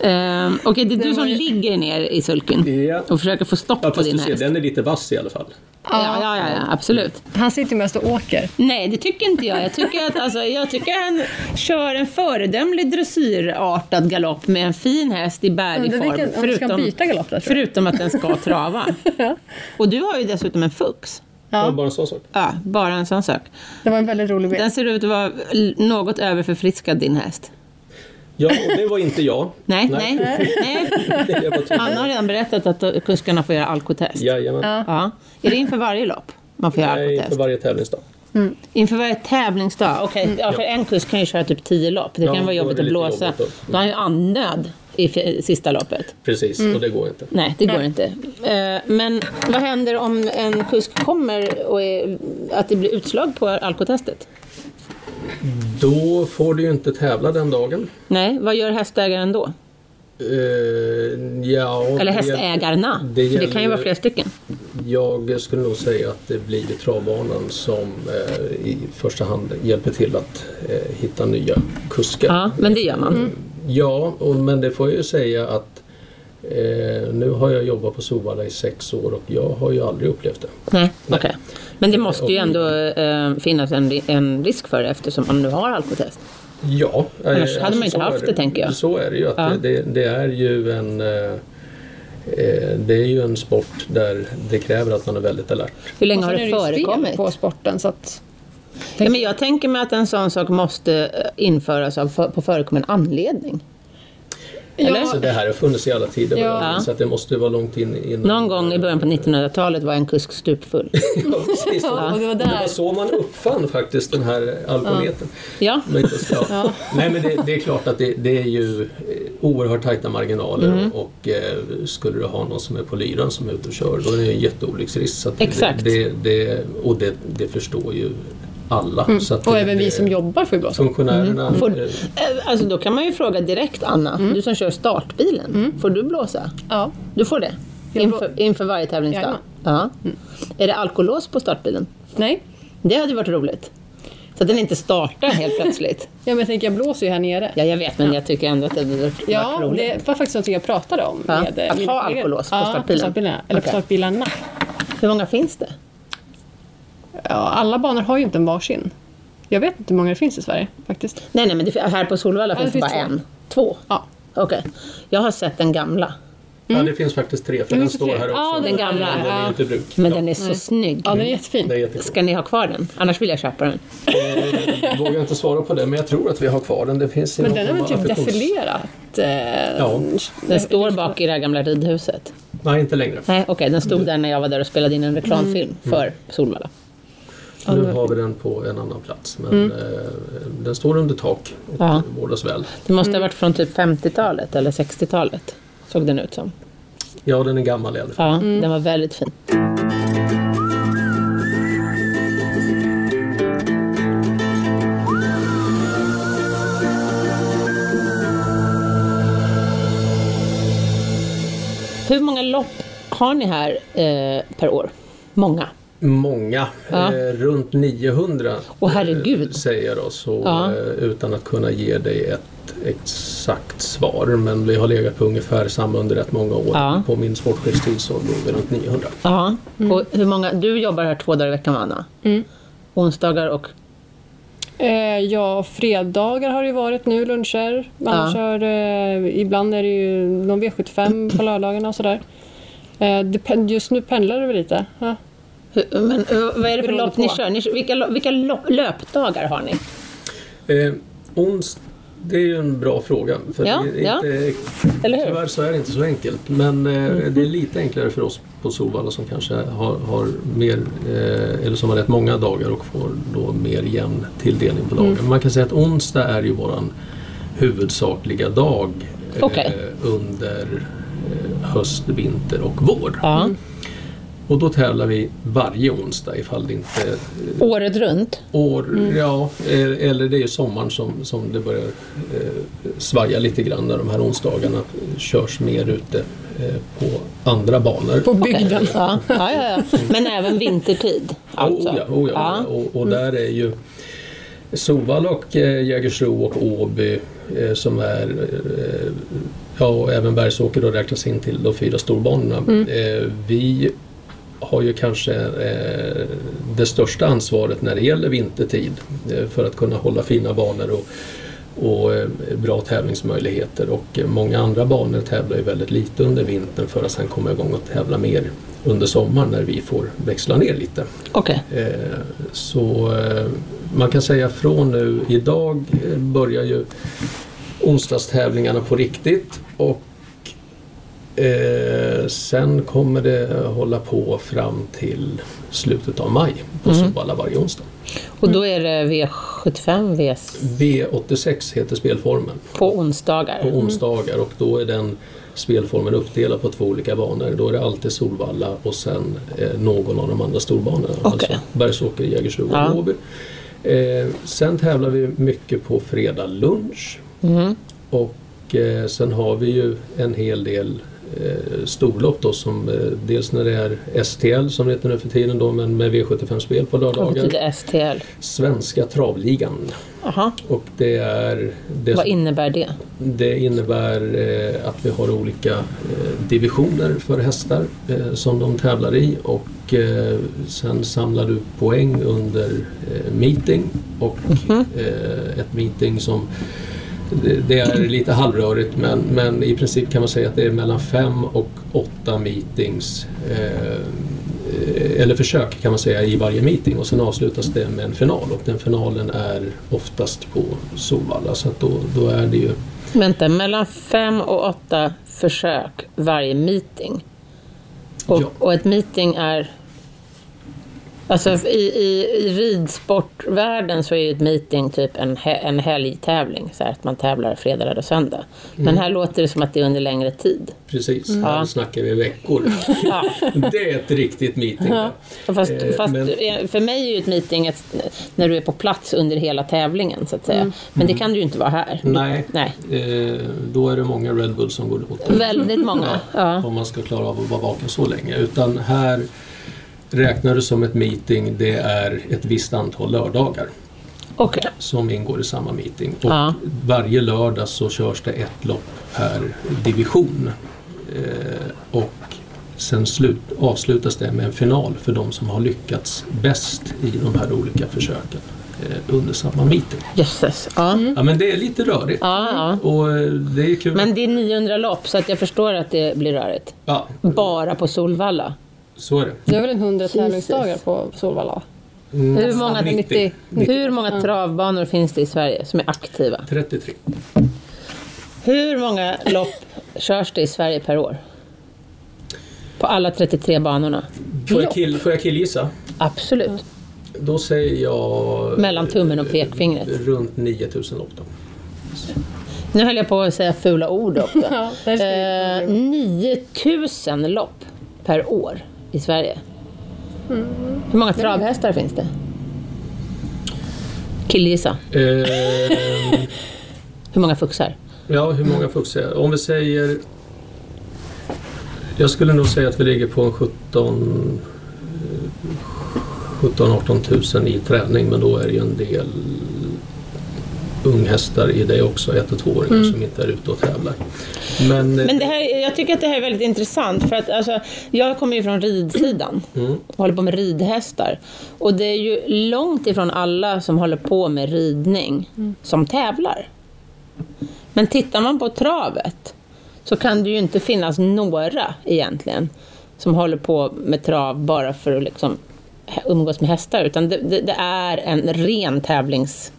Um, Okej, det är du som ligger ner i sulken
Ja.
och försöker få stopp
Ja,
på
fast
din
du ser,
häst. Ja,
den är lite vass i alla fall.
ja, ja, ja, absolut.
Han sitter ju mest och åker.
Nej, det tycker inte jag. Jag tycker att alltså, jag tycker han kör en föredömlig dressyrartad galopp med en fin häst i bärdig
Undrar
form.
vilken- om du ska byta galopp där, tror jag.
förutom att den ska trava. Och du har ju dessutom en fux.
Ja.
Ja.
Bara en sån sak.
Ja, bara en sån sak.
Det var en väldigt rolig bild.
Den ser ut att vara l- något överförfriskad, din häst.
Ja, och det var inte jag.
Nej, nej, nej.
Jag var tydlig.
Han har redan berättat att eh, kuskarna får göra alkotest.
Jajamän.
Ja. Är det inför varje lopp man får göra
Nej,
alkotest?
för varje tävlingsdag.
Inför varje tävlingsdag? Okej, ja, för en kusk kan ju köra typ tio lopp. Det
Mm. Ja,
kan
då
vara
är
jobbigt
det
att
lite
blåsa.
jobbigt då.
Då har han ju andnöd i fj- sista loppet.
Precis,
Mm.
och det går inte.
Nej, det går inte. Eh, Men vad händer om en kusk kommer och är, att det blir utslag på alkotestet?
Då får du ju inte tävla den dagen.
Nej, vad gör hästägaren då?
Eh, ja,
Eller
det-
hästägarna?
det
Det, det
gäller
kan ju vara
ju-
flera stycken.
Jag skulle nog säga att det blir travbanan som eh, i första hand hjälper till att eh, hitta nya kuskar.
Ja, men det gör man.
Ja, och, men det får jag ju säga att eh, nu har jag jobbat på Sovalla i sex år och jag har ju aldrig upplevt det.
Nej, Mm, okej. Men det måste ju ändå eh, finnas en, ri- en risk för det eftersom man nu har alkotest.
Ja, eh,
Annars hade man ju inte
så
haft
är
det, tänker jag.
Så är det ju. Att
Ja.
det, det är ju en eh, eh, det är ju en sport där det kräver att man är väldigt alert.
Hur länge har
Och sen
det
är ju spel
förekommit?
på sporten så att...
Ja, men jag tänker mig att en sån sak måste eh, införas av, för, på förekommen anledning. Eller?
Så det här har funnits i alla tider. vad jag
Ja.
minns, Så att det måste ju vara långt in innan.
Någon gång i början på 1900-talet var en kusk stupfull.
Ja, precis.
och det var där.
Det var så man uppfann faktiskt den här alkometern.
Ja,
Men inte så- Ja. Nej men det, det är klart att det, det är ju eh, oerhört tajta marginaler
Mm.
och eh, skulle du ha någon som är på lyran som är ute och kör då är det ju en jätteolycksrisk. Så att
Exakt.
Det, det, det, och det, det förstår ju alla. Så att
Mm. Och
det,
även vi
det-
som jobbar får Mm. ju blåsa.
Funktionärerna.
får,
eh,
eh, alltså då kan man ju fråga direkt Anna,
Mm.
du som kör startbilen, får du blåsa?
Ja.
Du får det?
Mm. Jag blå-
Inför, inför varje tävlingsdag?
Jajamän. Mm.
Ja. Är det alkolås på startbilen?
Nej.
Det hade ju varit roligt. Så att den inte startar helt plötsligt.
Ja, men jag tänker jag blåser ju här nere.
Ja, jag vet, men jag tycker ändå att det hade varit varit
Ja,
roligt.
det var faktiskt något jag pratade om.
Ja,
Med, eh,
att
min
ha
kollega.
alkolås på
ja,
startbilen.
På startbilarna. Eller
Okej.
på startbilarna.
Hur många finns det?
Ja, alla banor har ju inte en varsin. Jag vet inte hur många det finns i Sverige faktiskt.
Nej, nej, men det, här på Solvalla
Ja,
finns det
det
bara
finns
en. Två?
Ja.
Okej. Jag har sett den gamla,
Ja det finns faktiskt tre för
Det
den
finns
står
tre.
här också.
Mm. Ja, den
men
gamla,
Den är
ja.
ju inte i bruk.
men
Ja,
den är så snygg.
Ja, den är jättefin.
det är jättekul.
Ska ni ha kvar den? Annars vill jag köpa den.
Jag vågar inte svara på det men jag tror att vi har kvar den. Det finns i
Men
någon
den har väl
form av
typ
affektions-
defilerat? Eh,
Ja.
Den står bak i det här gamla ridhuset.
Nej inte längre.
Nej, okej, den stod där när jag var där och spelade in en reklamfilm för Solvalla.
Nu har vi den på en annan plats men eh, den står under tak och
Mm. Ja.
vårdas väl.
Det måste ha varit från typ 50-talet eller 60-talet, såg den ut som.
Ja, den är gammal i alla fall.
Ja, den var väldigt fin. Hur många lopp har ni här eh, per år? Många.
Många,
Ja.
eh, runt 900
Åh, herregud.
eh, säger jag då, så,
Ja.
eh, utan att kunna ge dig ett exakt svar. Men vi har legat på ungefär samma under rätt många år.
Ja.
På min sportchefstid så låg vi runt 900.
Ja. Och hur många, du jobbar här två dagar i veckan, va, Anna? Onsdagar och...
Eh, ja, fredagar har det ju varit nu, luncher. Man
Ja.
kör, eh, ibland är det ju någon V75 på lördagarna och sådär. Eh, det, pen- just nu pendlar det väl lite. Ja.
hur- Men, eh, vad är det för
Beroende
lopp ni
på.
kör? Ni, kör- vilka lo- vilka lopp, löpdagar har ni?
Eh, ons, det är ju en bra fråga. För
Ja,
det är inte,
Eller hur? Mm-hmm.
Tyvärr så är det inte så enkelt. Men eh, det är lite enklare för oss på Solvalla som kanske har, har mer, eh, eller som har rätt många
Mm.
dagar och får då mer jämn tilldelning på dagen. Man kan säga att onsdag är ju våran huvudsakliga dag eh,
Okej.
under eh, höst, vinter och vår.
Ja.
Och då tävlar vi varje onsdag ifall det inte eh,
Året runt.
år, ja, eh, eller det är ju sommaren som, som det börjar eh, svaja lite grann när de här onsdagarna eh, körs mer ute eh, på andra banor.
På
Okej.
bygden.
Ja. Ja, ja, ja. Men även vintertid. Alltså.
Oh ja, oh ja,
Ja. Mm.
Och, och där är ju Soval och eh, Jägersro och Åby eh, som är eh, ja, och även Bergsåker då räknas in till de fyra storbanorna.
Mm.
Eh, vi har ju kanske eh, det största ansvaret när det gäller vintertid eh, för att kunna hålla fina banor och, och eh, bra tävlingsmöjligheter och eh, många andra banor tävlar ju väldigt lite under vintern för att sen komma igång och tävla mer under sommaren när vi får växla ner lite.
Okej.
Eh, Så eh, man kan säga från nu idag eh, börjar ju onsdagstävlingarna på riktigt och eh, sen kommer det hålla på fram till slutet av maj på Solvalla varje onsdag.
Och då är det V75 V
V86 heter spelformen
på onsdagar.
på onsdagar och då är den spelformen uppdelad på två olika banor. Då är det alltid Solvalla och sen eh, någon av de andra storbanorna. Alltså Bergsåker, Jägersro
Ja.
och Åby. Eh, sen tävlar vi mycket på fredag lunch.
Mm.
Och eh, sen har vi ju en hel del eh, storlopp då som eh, dels när det är STL som det heter nu för tiden då men med V75-spel på
Vad
lördagar.
betyder STL?
Svenska travligan.
Aha.
Och det är... Det
Vad innebär det?
det innebär eh, att vi har olika eh, divisioner för hästar eh, som de tävlar i och eh, sen samlar du poäng under eh, meeting och eh, ett meeting som det- det är lite halvrörigt men, men i princip kan man säga att det är mellan fem och åtta meetings eh, eh, eller försök kan man säga i varje meeting och sen avslutas det med en final och den finalen är oftast på Solvalla så att då, då är det ju
Vänta, mellan fem och åtta försök varje meeting. Och,
Ja.
och ett meeting är... Alltså i, i, i ridsportvärlden så är ju ett meeting typ en, he, en helgtävling. Så här, att man tävlar fredag, lördag och söndag.
Mm.
Men här låter det som att det är under längre tid.
Precis,
Mm.
här snackar vi veckor. Det är ett riktigt meeting. där.
Fast,
Eh,
fast
men-
eh, för mig är ju ett meeting ett, när du är på plats under hela tävlingen så att säga. Men det kan du ju inte vara här.
Nej,
Nej.
Eh, då är det många Red Bull som går åt.
Väldigt många. Ja.
Om man ska klara av att vara vaken så länge. Utan här räknar du som ett meeting, det är ett visst antal lördagar
Okej.
som ingår i samma meeting. Och
Ja.
Varje lördag så körs det ett lopp per division. Eh, och sen slut, avslutas det med en final för de som har lyckats bäst i de här olika försöken eh, under samma meeting.
Jösses. Ja.
Ja men det är lite rörigt.
Ja, ja.
Och eh, det är kul.
Men det är 900 lopp så att jag förstår att det blir rörigt.
Ja,
Bara på Solvalla.
så är det.
Det är väl en hundra
Jesus.
tävlingsdagar på Solvalla?
Hur många,
90. 90.
hur många travbanor finns det i Sverige som är aktiva?
33.
Hur många lopp körs det i Sverige per år? På alla 33 banorna?
Får jag, kill, får jag killgissa?
Absolut.
Då säger jag... eh,
Mellan tummen och pekfingret.
Runt 9000 lopp då.
Nu höll jag på att säga fula ord också.
Ja, där ska vi-
Eh, 9000 lopp per år i Sverige. Hur många travhästar finns det? Killgissa.
Ehm,
Hur många fuxar?
ja, hur många fuxar jag? Om vi säger... Jag skulle nog säga att vi ligger på en 17... 17-18 000 i träning men då är det ju en del unghästar i det också, ett och tvååringar som inte är ute och tävlar. Men, mm.
Men det här, jag tycker att det här är väldigt intressant för att alltså, jag kommer ju från ridsidan och håller på med ridhästar. Och det är ju långt ifrån alla som håller på med ridning som tävlar. Men tittar man på travet så kan det ju inte finnas några egentligen som håller på med trav bara för att liksom umgås med hästar utan det, det, det är en ren tävlingsform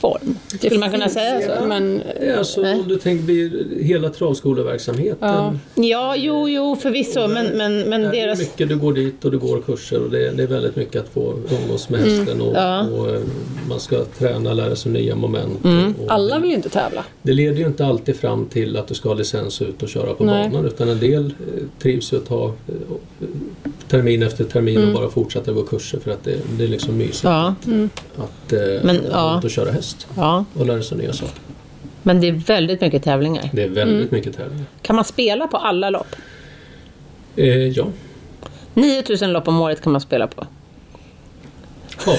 form? Skulle man kunna säga så?
Men,
Ja, Alltså,
Nej.
om du tänker blir hela travskoleverksamheten.
ja.
Ja, jo, jo, förvisso, men, men, men
Det är
deras...
mycket, du går dit och du går kurser och det är, det är väldigt mycket att få umgås med hästen och,
Ja.
och eh, man ska träna och lära sig nya moment. Och
Alla vill ju inte tävla.
det leder ju inte alltid fram till att du ska ha licens ut och köra på
Nej.
banan utan en del eh, trivs ju att ha eh, eh, termin efter termin och bara fortsätta gå kurser för att det, det är liksom mysigt
Mm. Ja,
att eh,
Men, ja.
vara ute och köra häst
ja,
och lära sig nya saker.
men det är väldigt mycket tävlingar.
Det är
Mm.
väldigt mycket tävling.
Kan man spela på alla lopp?
Eh, ja.
9000 lopp om året kan man spela på.
Ja,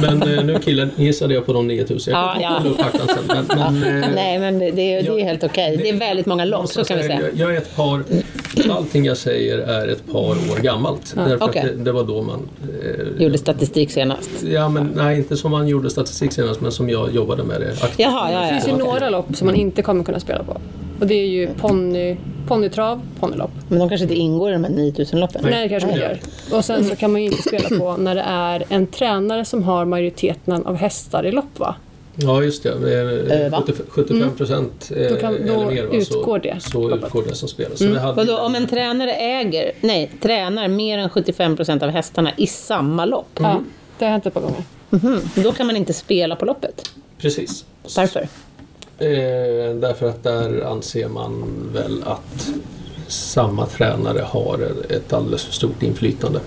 men eh, nu killar, gissade jag på de 9000. Jag
Ja, ja.
kan kolla upp faktan sen. Men, men, eh,
Nej, men det, det, är- det är
Ja.
helt okej. Det är väldigt många lopp, så
någonstans
kan vi
är-
säga.
Jag, jag är ett par, allting jag säger är ett par år gammalt. därför
okej.
att det, det var då man... Eh,
Gjorde statistik senast.
ja, men, nej, inte som man gjorde statistik senast, men som jag jobbade med det aktivt.
Jaha, ja,
Det finns ju
ja.
några lopp som man inte kommer kunna spela på. Och det är ju ponny, ponnytrav, ponnylopp.
Men de kanske inte ingår i de här 9000 loppen?
Nej, det kanske man gör. Och sen så kan man ju inte spela på när det är en tränare som har majoriteten av hästar i lopp va?
Ja, just det.
Eh,
Eh,
va? Mm.
70 75 procent eh,
Då kan- då
eller mer va,
utgår
så,
det.
så utgår det som spelas. Så det hade-
Vadå, om en tränare äger, nej, tränar mer än 75% av hästarna i samma lopp,
Ja, det har hänt ett par gånger.
Mm.
Mhm. då kan man inte spela på loppet.
Precis.
Varför?
Eh, därför att där anser man väl att samma tränare har ett alldeles för stort inflytande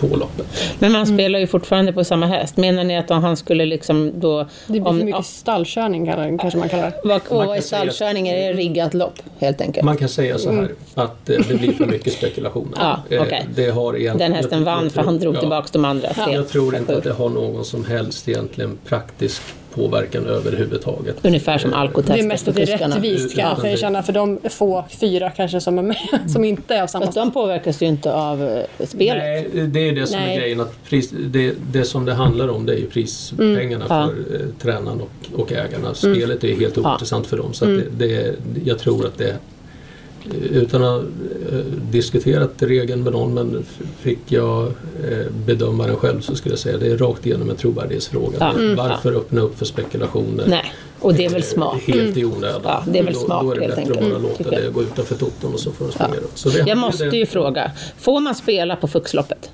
på loppet.
Men
Mm.
man spelar ju fortfarande på samma häst. Menar ni att om han skulle liksom då...
Det blir
om,
för mycket stallkörning kallar det- kanske man kallar det.
Vad och
Man
vad är
kan säga-
stallkörning? Är det riggat lopp, helt enkelt?
Man kan säga så här att eh, det blir för mycket spekulationer.
Mm. Ja,
Eh,
okej.
det har egentligen-
Den hästen
jag- jag
vann för
tror-
han drog
ja,
tillbaka de andra. Tre,
Jag tror
fyra,
inte att
sju.
det har någon som helst egentligen praktisk påverkan överhuvudtaget. Eh,
Ungefär som
Det är
alkotester
mest
för
att det är
kuskarna.
rättvist kan jag
Ja.
erkänna för de få fyra kanske som är med som inte är av samma
Fast de påverkas ju inte av eh, spelet.
Nej, det är ju det som
Nej.
är grejen. Att pris, det, det som det handlar om det är ju prispengarna
Mm. Ja. Mm.
för eh, tränaren och, och ägarna. Spelet är helt ointressant för dem. Så att det, det, jag tror att det utan att eh, diskuterat regeln med någon men f- fick jag eh, bedöma den själv så skulle jag säga det är rakt igenom en trovärdighetsfråga.
Ja. Mm.
Varför öppna upp för spekulationer?
Nej, och det är väl smart. Mm.
Helt i onödan.
Ja, det är väl smart,
då, då är det
helt
bättre
enkelt.
att bara
Mm,
låta
tycker jag.
det gå utanför toton och så får de springa runt. Så det hade
Jag
ju
måste
det-
ju fråga, får man spela på Fuxloppet?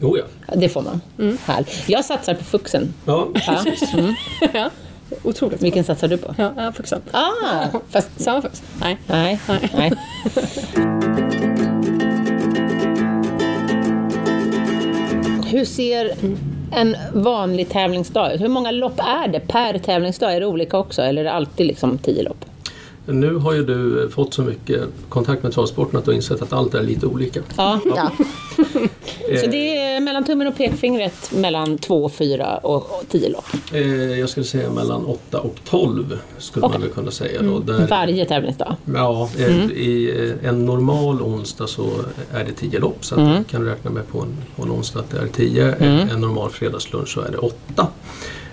Jo, ja.
Det får man.
Mm.
Härligt. Jag satsar på Fuxen.
ja.
Ja. Mm.
ja. Otroligt.
Vilken satsar du på?
Ja, ja, fuxen.
Ah, fast
Samma fux? Nej.
nej. nej. Hur ser en vanlig tävlingsdag ut? Hur många lopp är det per tävlingsdag? Är det olika också eller är det alltid liksom tio lopp?
Nu har ju du eh, fått så mycket kontakt med travsporten att du har insett att allt är lite olika.
Ja.
Eh,
Så det är mellan tummen och pekfingret mellan två, fyra och och tio lopp
eh, jag skulle säga mellan 8 och 12 skulle man väl kunna säga. Då, där,
varje tävlingsdag?
ja, eh,
Mm.
I eh, en normal onsdag så är det 10 lopp så att
Mm.
du kan räkna med på en, på en onsdag att det är 10. En, en normal fredagslunch så är det 8.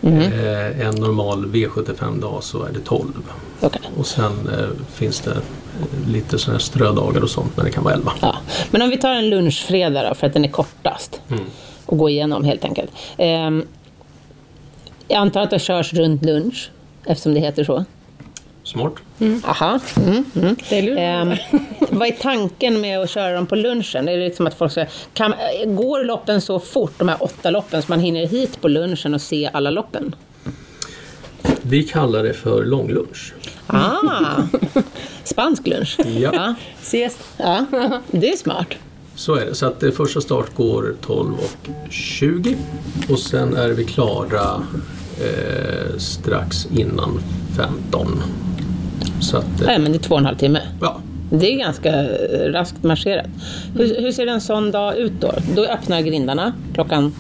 Mm.
Eh, en normal V75-dag så är det 12.
Okej.
Och sen eh, finns det eh, lite sådana här strödagar och sånt men det kan vara 11.
Ja. Men om vi tar en lunchfredag då, för att den är kortast
Mm.
och gå igenom helt enkelt. Ehm, jag antar att det körs runt lunch, eftersom det heter så.
Smart.
Aha. Mm, mm.
Det är lurigt.
Ehm, vad är tanken med att köra dem på lunchen? Är det liksom att folk ska, kan, går loppen så fort, de här åtta loppen, så man hinner hit på lunchen och se alla loppen?
Vi kallar det för långlunch.
Ah, spansk lunch.
Ja.
Ja,
Ses.
ja, det är smart.
Så är det. Så att det första start går 12 och 20 och sen är vi klara eh, strax innan 15. Så att, eh,
Nej, men det är två och en halv timme.
ja.
Det är ganska eh, raskt marscherat. Hur, hur ser en sån dag ut då? Då öppnar grindarna klockan...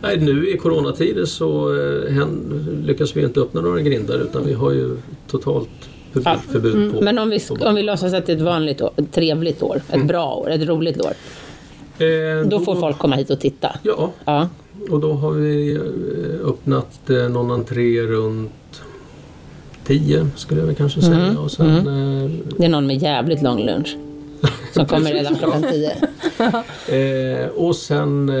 Nej, nu i coronatider så eh, hän, lyckas vi inte öppna några grindar utan vi har ju totalt förbud, förbud på...
Mm. Men om vi,
på-
sk- om vi låtsas att det är ett vanligt år, ett trevligt år, ett bra år, ett roligt år.
eh,
Då får folk komma hit och titta.
Ja,
Ja.
och då har vi eh, öppnat eh, någon entré runt 10 skulle jag väl kanske säga.
Mm.
Och sen, eh,
Det är någon med jävligt lång lunch. Som kommer redan klockan tio.
Eh, och sen eh,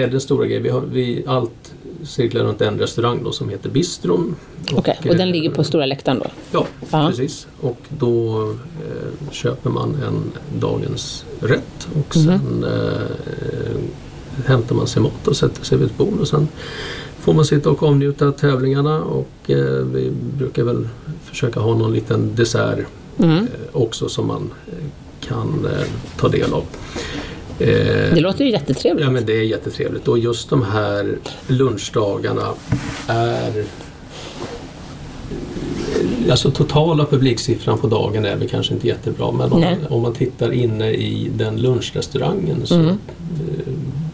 är den stora grejen, vi har, vi, allt cirklar runt en restaurang då som heter Bistron.
Okej, och den ligger på
eh,
stora läktaren då?
Ja,
Ja.
precis. Och då eh, köper man en dagens rätt och
Mhm.
sen eh, hämtar man sig mat och sätter sig vid ett bord och sen får man sitta och avnjuta av tävlingarna och eh, vi brukar väl försöka ha någon liten dessert
Mm.
eh, också som man eh, kan eh, ta del av. Eh,
Det låter ju jättetrevligt.
Ja men det är jättetrevligt och just de här lunchdagarna är Alltså totala publiksiffran på dagen är väl kanske inte jättebra men om,
Nej.
man- om man tittar inne i den lunchrestaurangen så
Mm.
eh,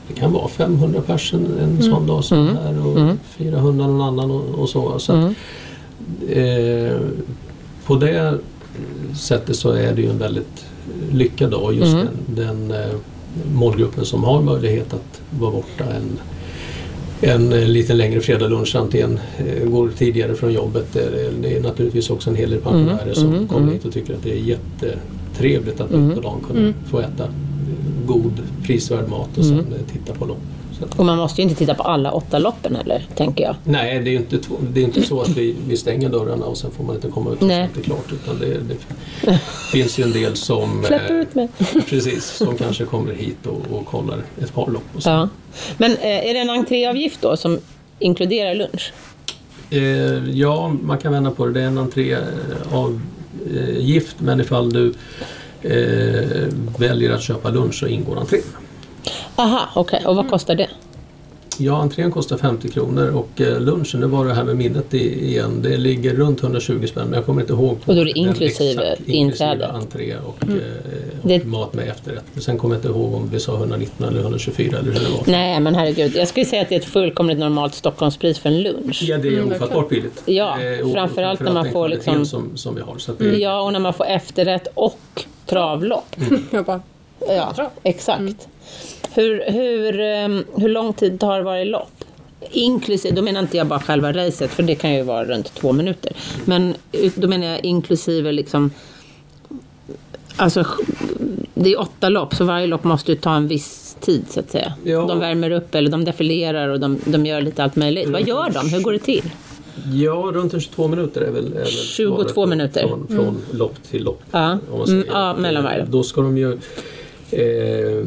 det kan vara 500 personer en sån dag som
Mm.
här och
Mm.
400 någon annan och, och så. så att,
Mm.
eh, på det sättet så är det ju en väldigt lyckad dag och just
Mm.
den, den eh, målgruppen som har möjlighet att vara borta en, en eh, lite längre fredagslunch antingen eh, går tidigare från jobbet. eh, Det är naturligtvis också en hel del pensionärer
Mm,
som
mm,
kommer
mm.
hit och tycker att det är jättetrevligt att
Mm.
mitt på dagen kunna få äta eh, god prisvärd mat och sen
Mm.
eh, titta på lopp. Så att,
Och man måste ju inte titta på alla åtta loppen heller, tänker jag.
nej, det är ju inte, två- det är inte så att vi, vi stänger dörrarna och sen får man inte komma ut och
Nej.
det är klart. Utan det, det finns ju en del som
Släpp
eh,
ut mig!
Precis, som kanske kommer hit och, och kollar ett par lopp. Och så.
Ja. Men eh, är det en entréavgift då som inkluderar lunch?
Eh, ja, man kan vända på det. Det är en entré av eh, gift men ifall du eh, väljer att köpa lunch så ingår entrén.
Aha, okej. Och vad kostar det?
Ja, entrén kostar 50 kronor och eh, lunchen, nu var det här med minnet i- igen, det ligger runt 120 spänn men jag kommer inte ihåg.
Och då är det
den
inklusive
exakt
inträdet. Mm.
entré och, eh, och
Det-
mat med efterrätt. Men sen kommer jag inte ihåg om vi sa 119 eller 124 eller hur det var.
Nej, men herregud. Jag skulle säga att det är ett fullkomligt normalt Stockholmspris för en lunch.
Ja, det är
Mm,
ofattbart billigt.
Ja,
Eh, och
framförallt när man
den
får
kvaliteten
liksom-
Som, som vi har. Så att det,
Ja, och när man får efterrätt och travlopp.
Jag bara,
Ja, exakt. Mm. Hur, hur, ehm, hur lång tid tar varje lopp? Inklusive, då menar inte jag bara själva racet, för det kan ju vara runt två minuter. Men eh, då menar jag inklusive liksom... Alltså, sj- det är åtta lopp, så varje lopp måste ju ta en viss tid, så att säga.
Ja.
De värmer upp, eller de defilerar och de, de gör lite allt möjligt. Vad gör de? Hur går det till?
ja, runt en 22 minuter är väl... Är väl
22
svaret på-
minuter. Mm.
Från, från lopp till lopp.
Ja,
om man
mm,
säger.
ja mellan varje lopp.
Då ska de ju eh,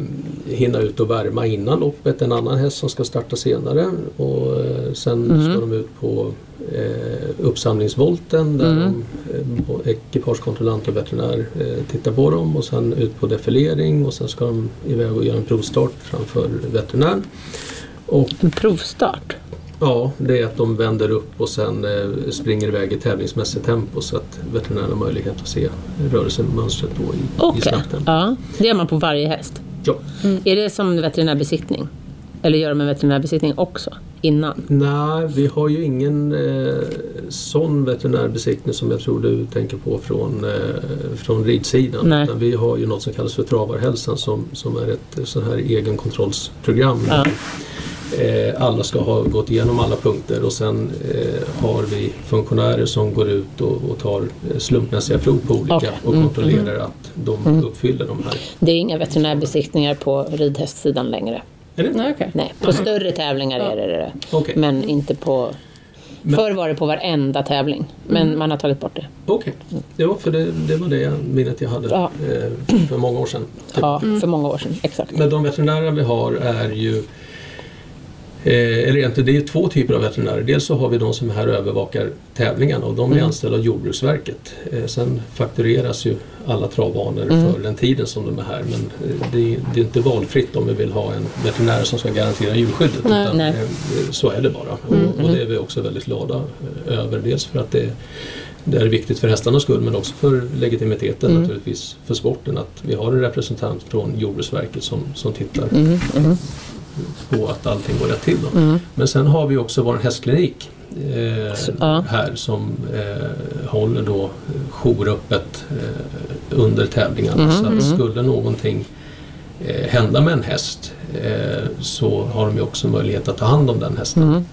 hinna ut och värma innan loppet en annan häst som ska starta senare. Och eh, sen
Mm.
ska de ut på eh, uppsamlingsvolten där
Mm.
de, eh, på ekipagekontrollant och veterinär eh, tittar på dem och sen ut på defilering och sen ska de iväg och göra en provstart framför veterinär. Och
En provstart?
Ja, det är att de vänder upp och sen eh, springer iväg i tävlingsmässigt tempo så att veterinären har möjlighet att se rörelsemönstret då i, i
Okej.
snabbt tempo.
Ja, det gör man på varje häst.
Ja.
Är det som veterinärbesiktning? Eller gör de en veterinärbesiktning också? Innan?
Nej, vi har ju ingen eh, sån veterinärbesiktning som jag tror du tänker på från, eh, från ridsidan.
Nej.
Utan vi har ju något som kallas för travarhälsan som, som är ett eh, sån här egenkontrollsprogram.
Ja.
Eh, alla ska ha gått igenom alla punkter och sen eh, har vi funktionärer som går ut och, och tar eh, slumpmässiga prov på olika
Okej. Mm,
och kontrollerar att de uppfyller de här.
Det är inga veterinärbesiktningar på ridhästsidan längre.
Är det?
nej okej.
Nej, på större tävlingar är det det.
Okej.
Men inte på...
Men- Mm.
Förr var det på varenda tävling, men man har tagit bort det.
Okej, ja, för det, det var det minnet jag hade
Ja.
eh, för många år sedan. Typ.
Ja, för många år sedan. Exakt.
Men de veterinärer vi har är ju Eh, eller egentligen, det är ju två typer av veterinärer. Dels så har vi de som här övervakar tävlingarna och de är anställda av Jordbruksverket. Eh, sen faktureras ju alla travaner för den tiden som de är här men eh, det, är- det är inte valfritt om vi vill ha en veterinär som ska garantera djurskyddet.
Nej.
utan,
Nej.
eh, Så är det bara och, och det är vi också väldigt glada eh, över. Dels för att det, det är viktigt för hästarnas skull men också för legitimiteten naturligtvis för sporten att vi har en representant från Jordbruksverket som, som tittar
Mm,
på att allting går rätt till. Då. Men sen har vi också vår hästklinik eh,
ja.
här som eh, håller då eh, jouröppet eh, under tävlingarna. Så att skulle någonting
Mm.
eh, hända med en häst eh, så har de ju också möjlighet att ta hand om den hästen.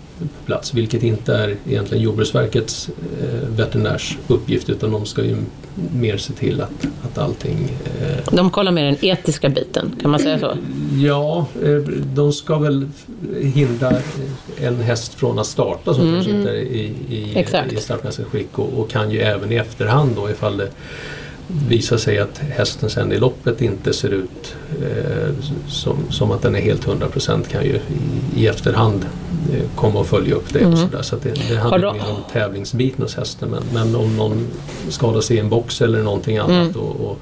plats, vilket inte är egentligen Jordbruksverkets eh, veterinärs uppgift utan de ska ju mer se till att, att allting... Eh,
De kollar med den etiska biten, kan man säga så?
ja, eh, de ska väl hindra en häst från att starta som
Mm.
kanske inte är i, i,
Exakt.
i startmässigt skick och, och kan ju även i efterhand då ifall det visar sig att hästen sen i loppet inte ser ut eh, som, som att den är helt 100% kan ju i, i efterhand eh, komma och följa upp det. Och så där. Så att det, det handlar
Mm. de-
mer om tävlingsbiten hos hästen men, men om någon skadar sig i en box eller någonting
Mm.
annat och, och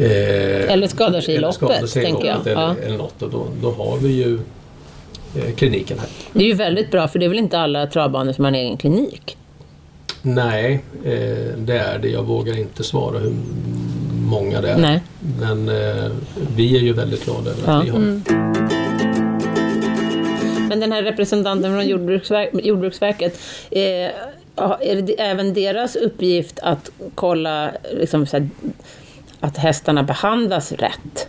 eh,
Eller skadar sig i
eller skadar
loppet,
sig i
tänker jag.
loppet Eller,
Ja.
eller något och då, då har vi ju eh, kliniken här.
Det är ju väldigt bra, för det är väl inte alla travbanor som har en egen klinik?
Nej, eh, det är det. Jag vågar inte svara hur många det är.
Nej.
Men eh, vi är ju väldigt glada över
Ja. Mm.
att vi har
Men den här representanten från Jordbruksverk, Jordbruksverket, eh, ja, är det även deras uppgift att kolla liksom, så här, att hästarna behandlas rätt?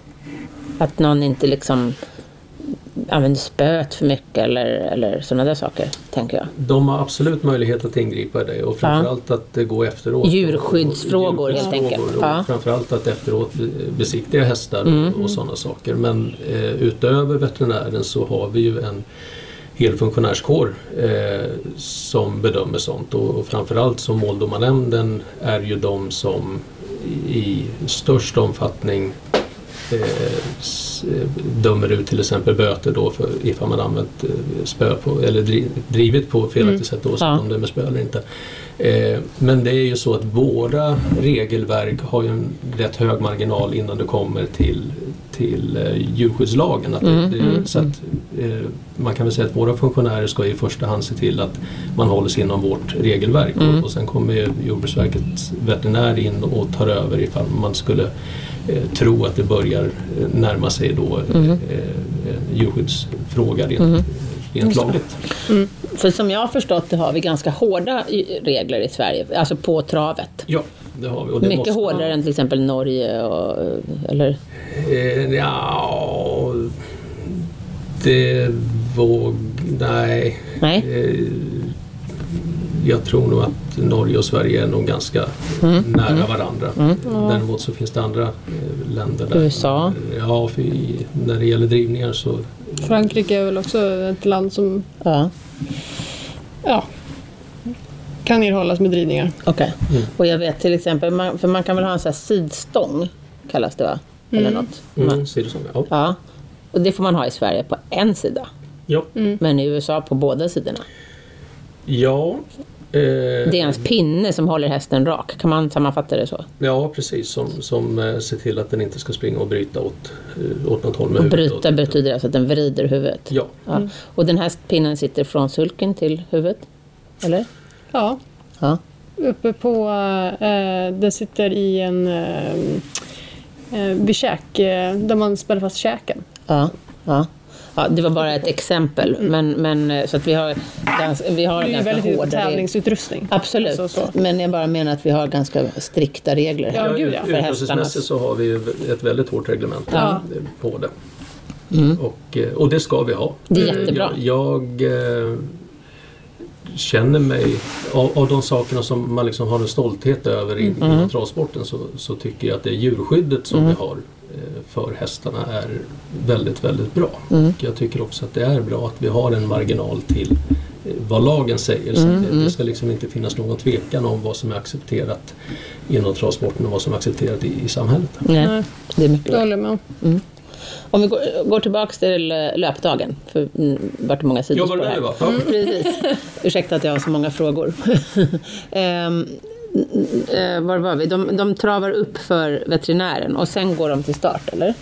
Att någon inte liksom använder spöet för mycket eller, eller sådana där saker, tänker jag.
De har absolut möjlighet att ingripa i det och framförallt att eh, gå efteråt.
Djurskyddsfrågor, helt
Djurskyddsfrågor
enkelt.
Och
Ja. Mm.
Framförallt att efteråt be- besiktiga hästar och, och sådana saker. Men eh, utöver veterinären så har vi ju en hel funktionärskår eh, som bedömer sånt och, och framförallt som måldomarnämnden är ju de som i, i störst omfattning eh, s- eh, dömer ut till exempel böter då för ifall man använt eh, spö på, eller dri, drivit på felaktigt sätt oavsett
Mm. Ja.
om det är med spö eller inte. Eh, men det är ju så att våra regelverk har ju en rätt hög marginal innan du kommer till, till eh, djurskyddslagen. Att det,
Mm,
det,
mm,
så att, eh, man kan väl säga att våra funktionärer ska i första hand se till att man håller sig inom vårt regelverk
Mm.
och, och sen kommer ju Jordbruksverkets veterinär in och tar över ifall man skulle eh, tro att det börjar eh, närma sig då
Mm.
eh, eh, djurskyddsfråga rent, rent lagligt.
För som jag har förstått det har vi ganska hårda i- regler i Sverige, alltså på travet.
Ja, det har vi. Och det
Mycket
måste man-
hårdare än till exempel Norge och... Eller?
Eh, ja, det våg... Nej.
Nej?
Eh, Jag tror nog att Norge och Sverige är nog ganska
Mm.
nära varandra. Däremot så finns det andra eh, länder där.
USA.
Ja, för i, när det gäller drivningar så mm,
Frankrike är väl också ett land som
Ja.
ja, kan erhållas med drivningar.
Okej.
Mm.
Och jag vet till exempel, man, för man kan väl ha en sån här sidstång, kallas det va? Eller något. Man,
mm. ser det som. Ja.
ja. Och det får man ha i Sverige på en sida.
Ja.
Mm.
Men i USA på båda sidorna.
ja. eh,
Det är ens pinne som håller hästen rak. Kan man sammanfatta det så?
Ja precis, som, som eh, ser till att den inte ska springa och bryta åt, eh, åt något håll med
Och
huvudet.
bryta betyder alltså att den vrider huvudet.
Ja,
Ja.
Mm.
Och den här pinnen sitter från sulken till huvudet? Eller?
Ja,
Ja.
uppe på... Eh, den sitter i en... Eh, eh, vid käk, eh, där man spänner fast käken.
Ja. ja. Ja, det var bara ett exempel, men, men eh, så att vi har, gans, vi har
Mm. Det är ju
ganska
väldigt
hårda regler.
tävlingsutrustning.
Absolut, Mm.
Så, så.
men jag bara menar att vi har ganska strikta regler.
Ja, gud, ja.
ut-
För hästarna.
Utrustningsmässigt så har vi ju ett väldigt hårt reglement
Ja.
eh, på det. Och, eh, och det ska vi ha. Eh,
Det är jättebra.
Jag, jag eh, känner mig, av, av de sakerna som man liksom har en stolthet över i- inom
Mm.
travsporten så, så tycker jag att det djurskyddet som vi har eh, för hästarna är väldigt, väldigt bra.
Mm.
Och jag tycker också att det är bra att vi har en marginal till eh, vad lagen säger. Så att det, det ska liksom inte finnas någon tvekan om vad som är accepterat inom travsporten och vad som är accepterat i, i samhället.
Nej, det är mycket
Det
bra.
håller jag med om.
Om vi går, går tillbaka till eh, löpdagen, för mm, vart det många sidospår
Jobbar
här.
du va? Ja.
Precis. Ursäkta att jag har så många frågor. Ehm, eh, var var vi? De, de travar upp för veterinären och sen går de till start, eller?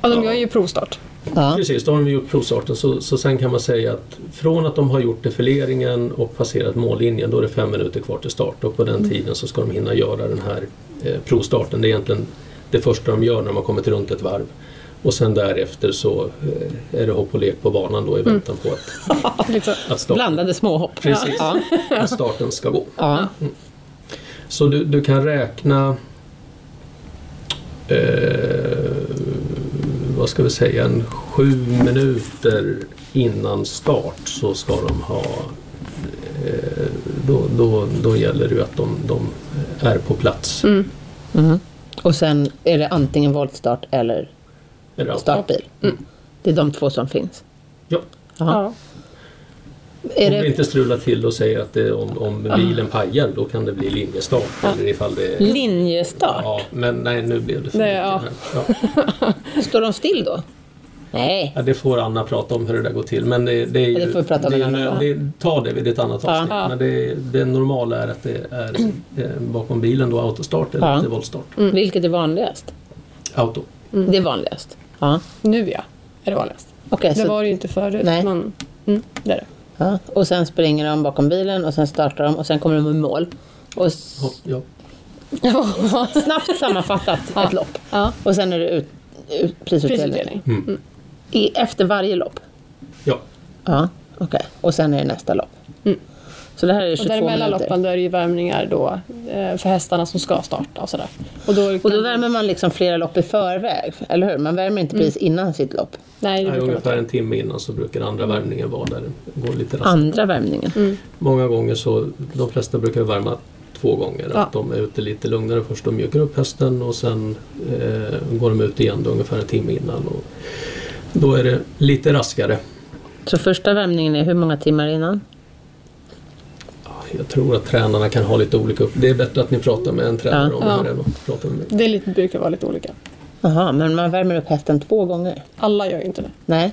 Ja, de gör ju provstart.
Ja.
Precis, då har de gjort provstarten så, så sen kan man säga att från att de har gjort defileringen och passerat mållinjen då är det fem minuter kvar till start och på den tiden så ska de hinna göra den här eh, provstarten. Det är egentligen det första de gör när de har kommit runt ett varv. Och sen därefter så eh, är det hopp och lek på banan då i väntan på att,
Liksom.
att, starten,
Blandade småhopp.
Precis.
Ja.
att starten ska gå.
Ja.
Så du, du kan räkna... Eh, vad vad ska vi säga, en sju minuter innan start så ska de ha eh, då, då, då gäller det ju att de, de är på plats.
Mm. Mm-hmm. Och sen är det antingen voltstart eller
Är det allt?
startbil. Det är de två som finns.
Ja.
Ja.
Är
Om vi
det
inte strular till och säger att det, om, om bilen pajar då kan det bli linjestart. Eller ifall det,
Mm. linjestart?
ja, men nej, nu blev det för
Nej,
mycket.
ja.
här. Ja.
Står de still då? Nej.
Ja, det får Anna prata om hur det där går till. Men det, det är ju,
Ja, det får vi prata om
det,
en annan gång.
det, Ta det vid ett annat
Ja.
avsnitt. Men det, det normala är att det är eh, bakom bilen då autostart eller
Ja.
ja. voltstart.
Vilket är vanligast?
Auto.
Det är vanligast. Ja.
Nu ja, är det vanligast.
Okej,
Det
så,
var det ju inte förut.
Nej.
Men, mm, det är det.
ja. Och sen springer de bakom bilen och sen startar de och sen kommer de i mål. Och s-
Ja, ja.
snabbt sammanfattat ett lopp.
Ja.
Och sen är det ut, ut, prisutdelning.
Prisutdelning.
I, efter varje lopp?
ja.
Ja, okej. Och sen är det nästa lopp? Så det här är
Mm. Och
22
däremellan
minuter.
loppen då är det ju värmningar då, eh, för hästarna som ska starta och sådär. Och då,
Och då värmer man liksom flera lopp i förväg, eller hur? Man värmer
Mm.
inte precis innan sitt lopp.
Nej, det
Ja,
brukar man
Ungefär
inte.
en timme innan så brukar andra värmningen vara där. Det Går lite raskt.
Andra värmningen.
Många gånger så, de flesta brukar värma två gånger.
Ja.
Att de är ute lite lugnare först och mjukar upp hästen och sen eh, går de ut igen då, ungefär en timme innan. Och då är det lite raskare.
Så första värmningen är hur många timmar innan?
Jag tror att tränarna kan ha lite olika upp. Det är bättre att ni pratar med en tränare
Ja.
om det här
Ja.
än att prata med mig.
Det är lite, brukar vara lite olika.
Jaha, men man värmer upp hästen två gånger?
Alla gör ju inte det,
Nej,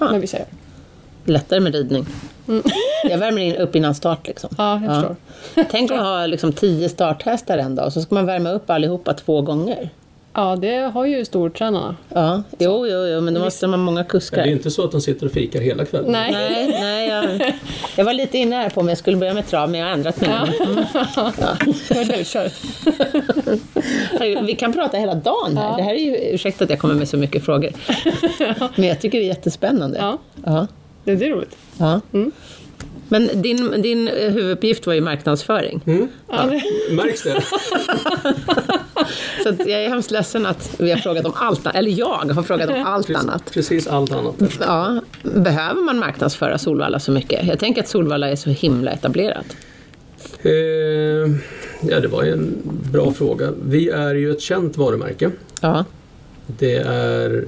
men vissa gör.
lättare med ridning. Jag värmer in upp innan start liksom.
Ja, jag förstår.
Tänk om man har liksom tio starthästar en dag och så ska man värma upp allihopa två gånger.
Ja, det har ju stortränarna.
Ja, jo, jo, jo, men då måste man ha många
Det är
kuskar.
inte så att de sitter och fikar hela kvällen.
Nej.
Nej, nej jag, jag var lite inne här på om jag skulle börja med trav, men jag har ändrat mig.
Men du, kör.
Herregud, Vi kan prata hela dagen här. Det här är ju, ursäkta att jag kommer med så mycket frågor. Men jag tycker det är jättespännande.
Ja.
Ja.
Det, det är roligt.
ja. Men din, din eh, huvuduppgift var ju marknadsföring.
Ja, det,
Märks det?
Så att jag är hemskt ledsen att vi har frågat om allt Eller jag har frågat om allt annat.
Precis allt annat.
Ja, behöver man marknadsföra Solvalla så mycket? Jag tänker att Solvalla är så himla etablerat.
Eh, ja, det var ju en bra fråga. Vi är ju ett känt varumärke.
Ja.
Det är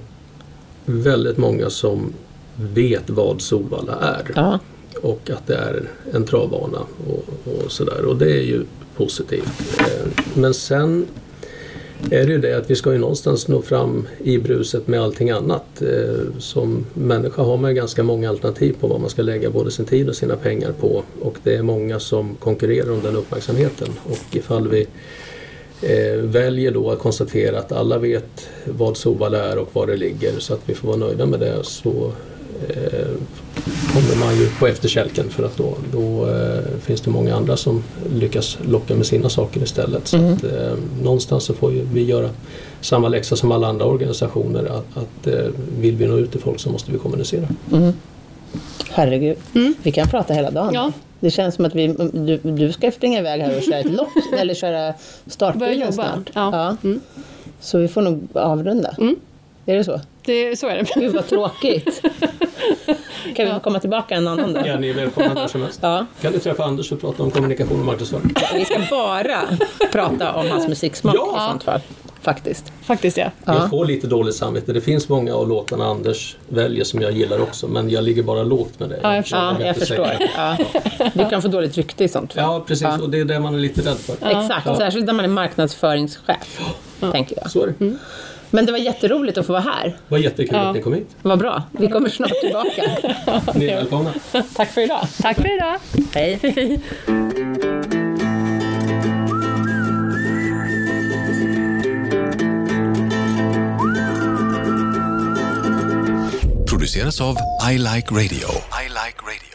väldigt många som vet vad Solvalla är.
ja.
och att det är en travbana och, och sådär. Och det är ju positivt. Eh, Men sen är det ju det att vi ska ju någonstans nå fram i bruset med allting annat. Eh, Som människa har man ju ganska många alternativ på vad man ska lägga både sin tid och sina pengar på. Och det är många som konkurrerar om den uppmärksamheten. Och ifall vi eh, väljer då att konstatera att alla vet vad Sobala är och var det ligger så att vi får vara nöjda med det så eh, kommer man ju på efterkälken för att då, då eh, finns det många andra som lyckas locka med sina saker istället. Så att, eh, någonstans så får ju vi göra samma läxa som alla andra organisationer att, att eh, vill vi nå ut till folk så måste vi kommunicera.
Herregud, vi kan prata hela dagen.
Ja.
Det känns som att vi, du, du ska springa iväg här och köra ett lopp, eller köra
Börja
startbilen
jobba.
snart.
Ja. Mm.
Så vi får nog avrunda. Är det så?
det, så är det.
Mm. Gud vad tråkigt. kan vi få komma tillbaka en annan dag?
Ja, ni är välkomna när som helst.
Ja.
Kan du träffa Anders och prata om kommunikation och marknadsföring?
Vi ska bara prata om hans musiksmak
Ja.
i sånt fall. Faktiskt.
Faktiskt ja.
Ja.
Jag får lite dåligt samvete. Det finns många av låtarna Anders väljer som jag gillar också men jag ligger bara lågt med det.
Ja, jag förstår.
Ja,
vågar
jag
inte
förstår.
säga.
Ja. Du kan få dåligt rykte i sånt fall.
Ja, precis. Och det är det man är lite rädd för.
Exakt, särskilt när man är marknadsföringschef. Tänker jag.
Så är det.
Men det var jätteroligt att få vara här.
Vad jättekul att ni kom hit.
Vad bra. Vi kommer snart tillbaka.
Ni är välkomna.
Tack för idag.
Tack för idag.
Hej.
produceras av I Like Radio. I like radio.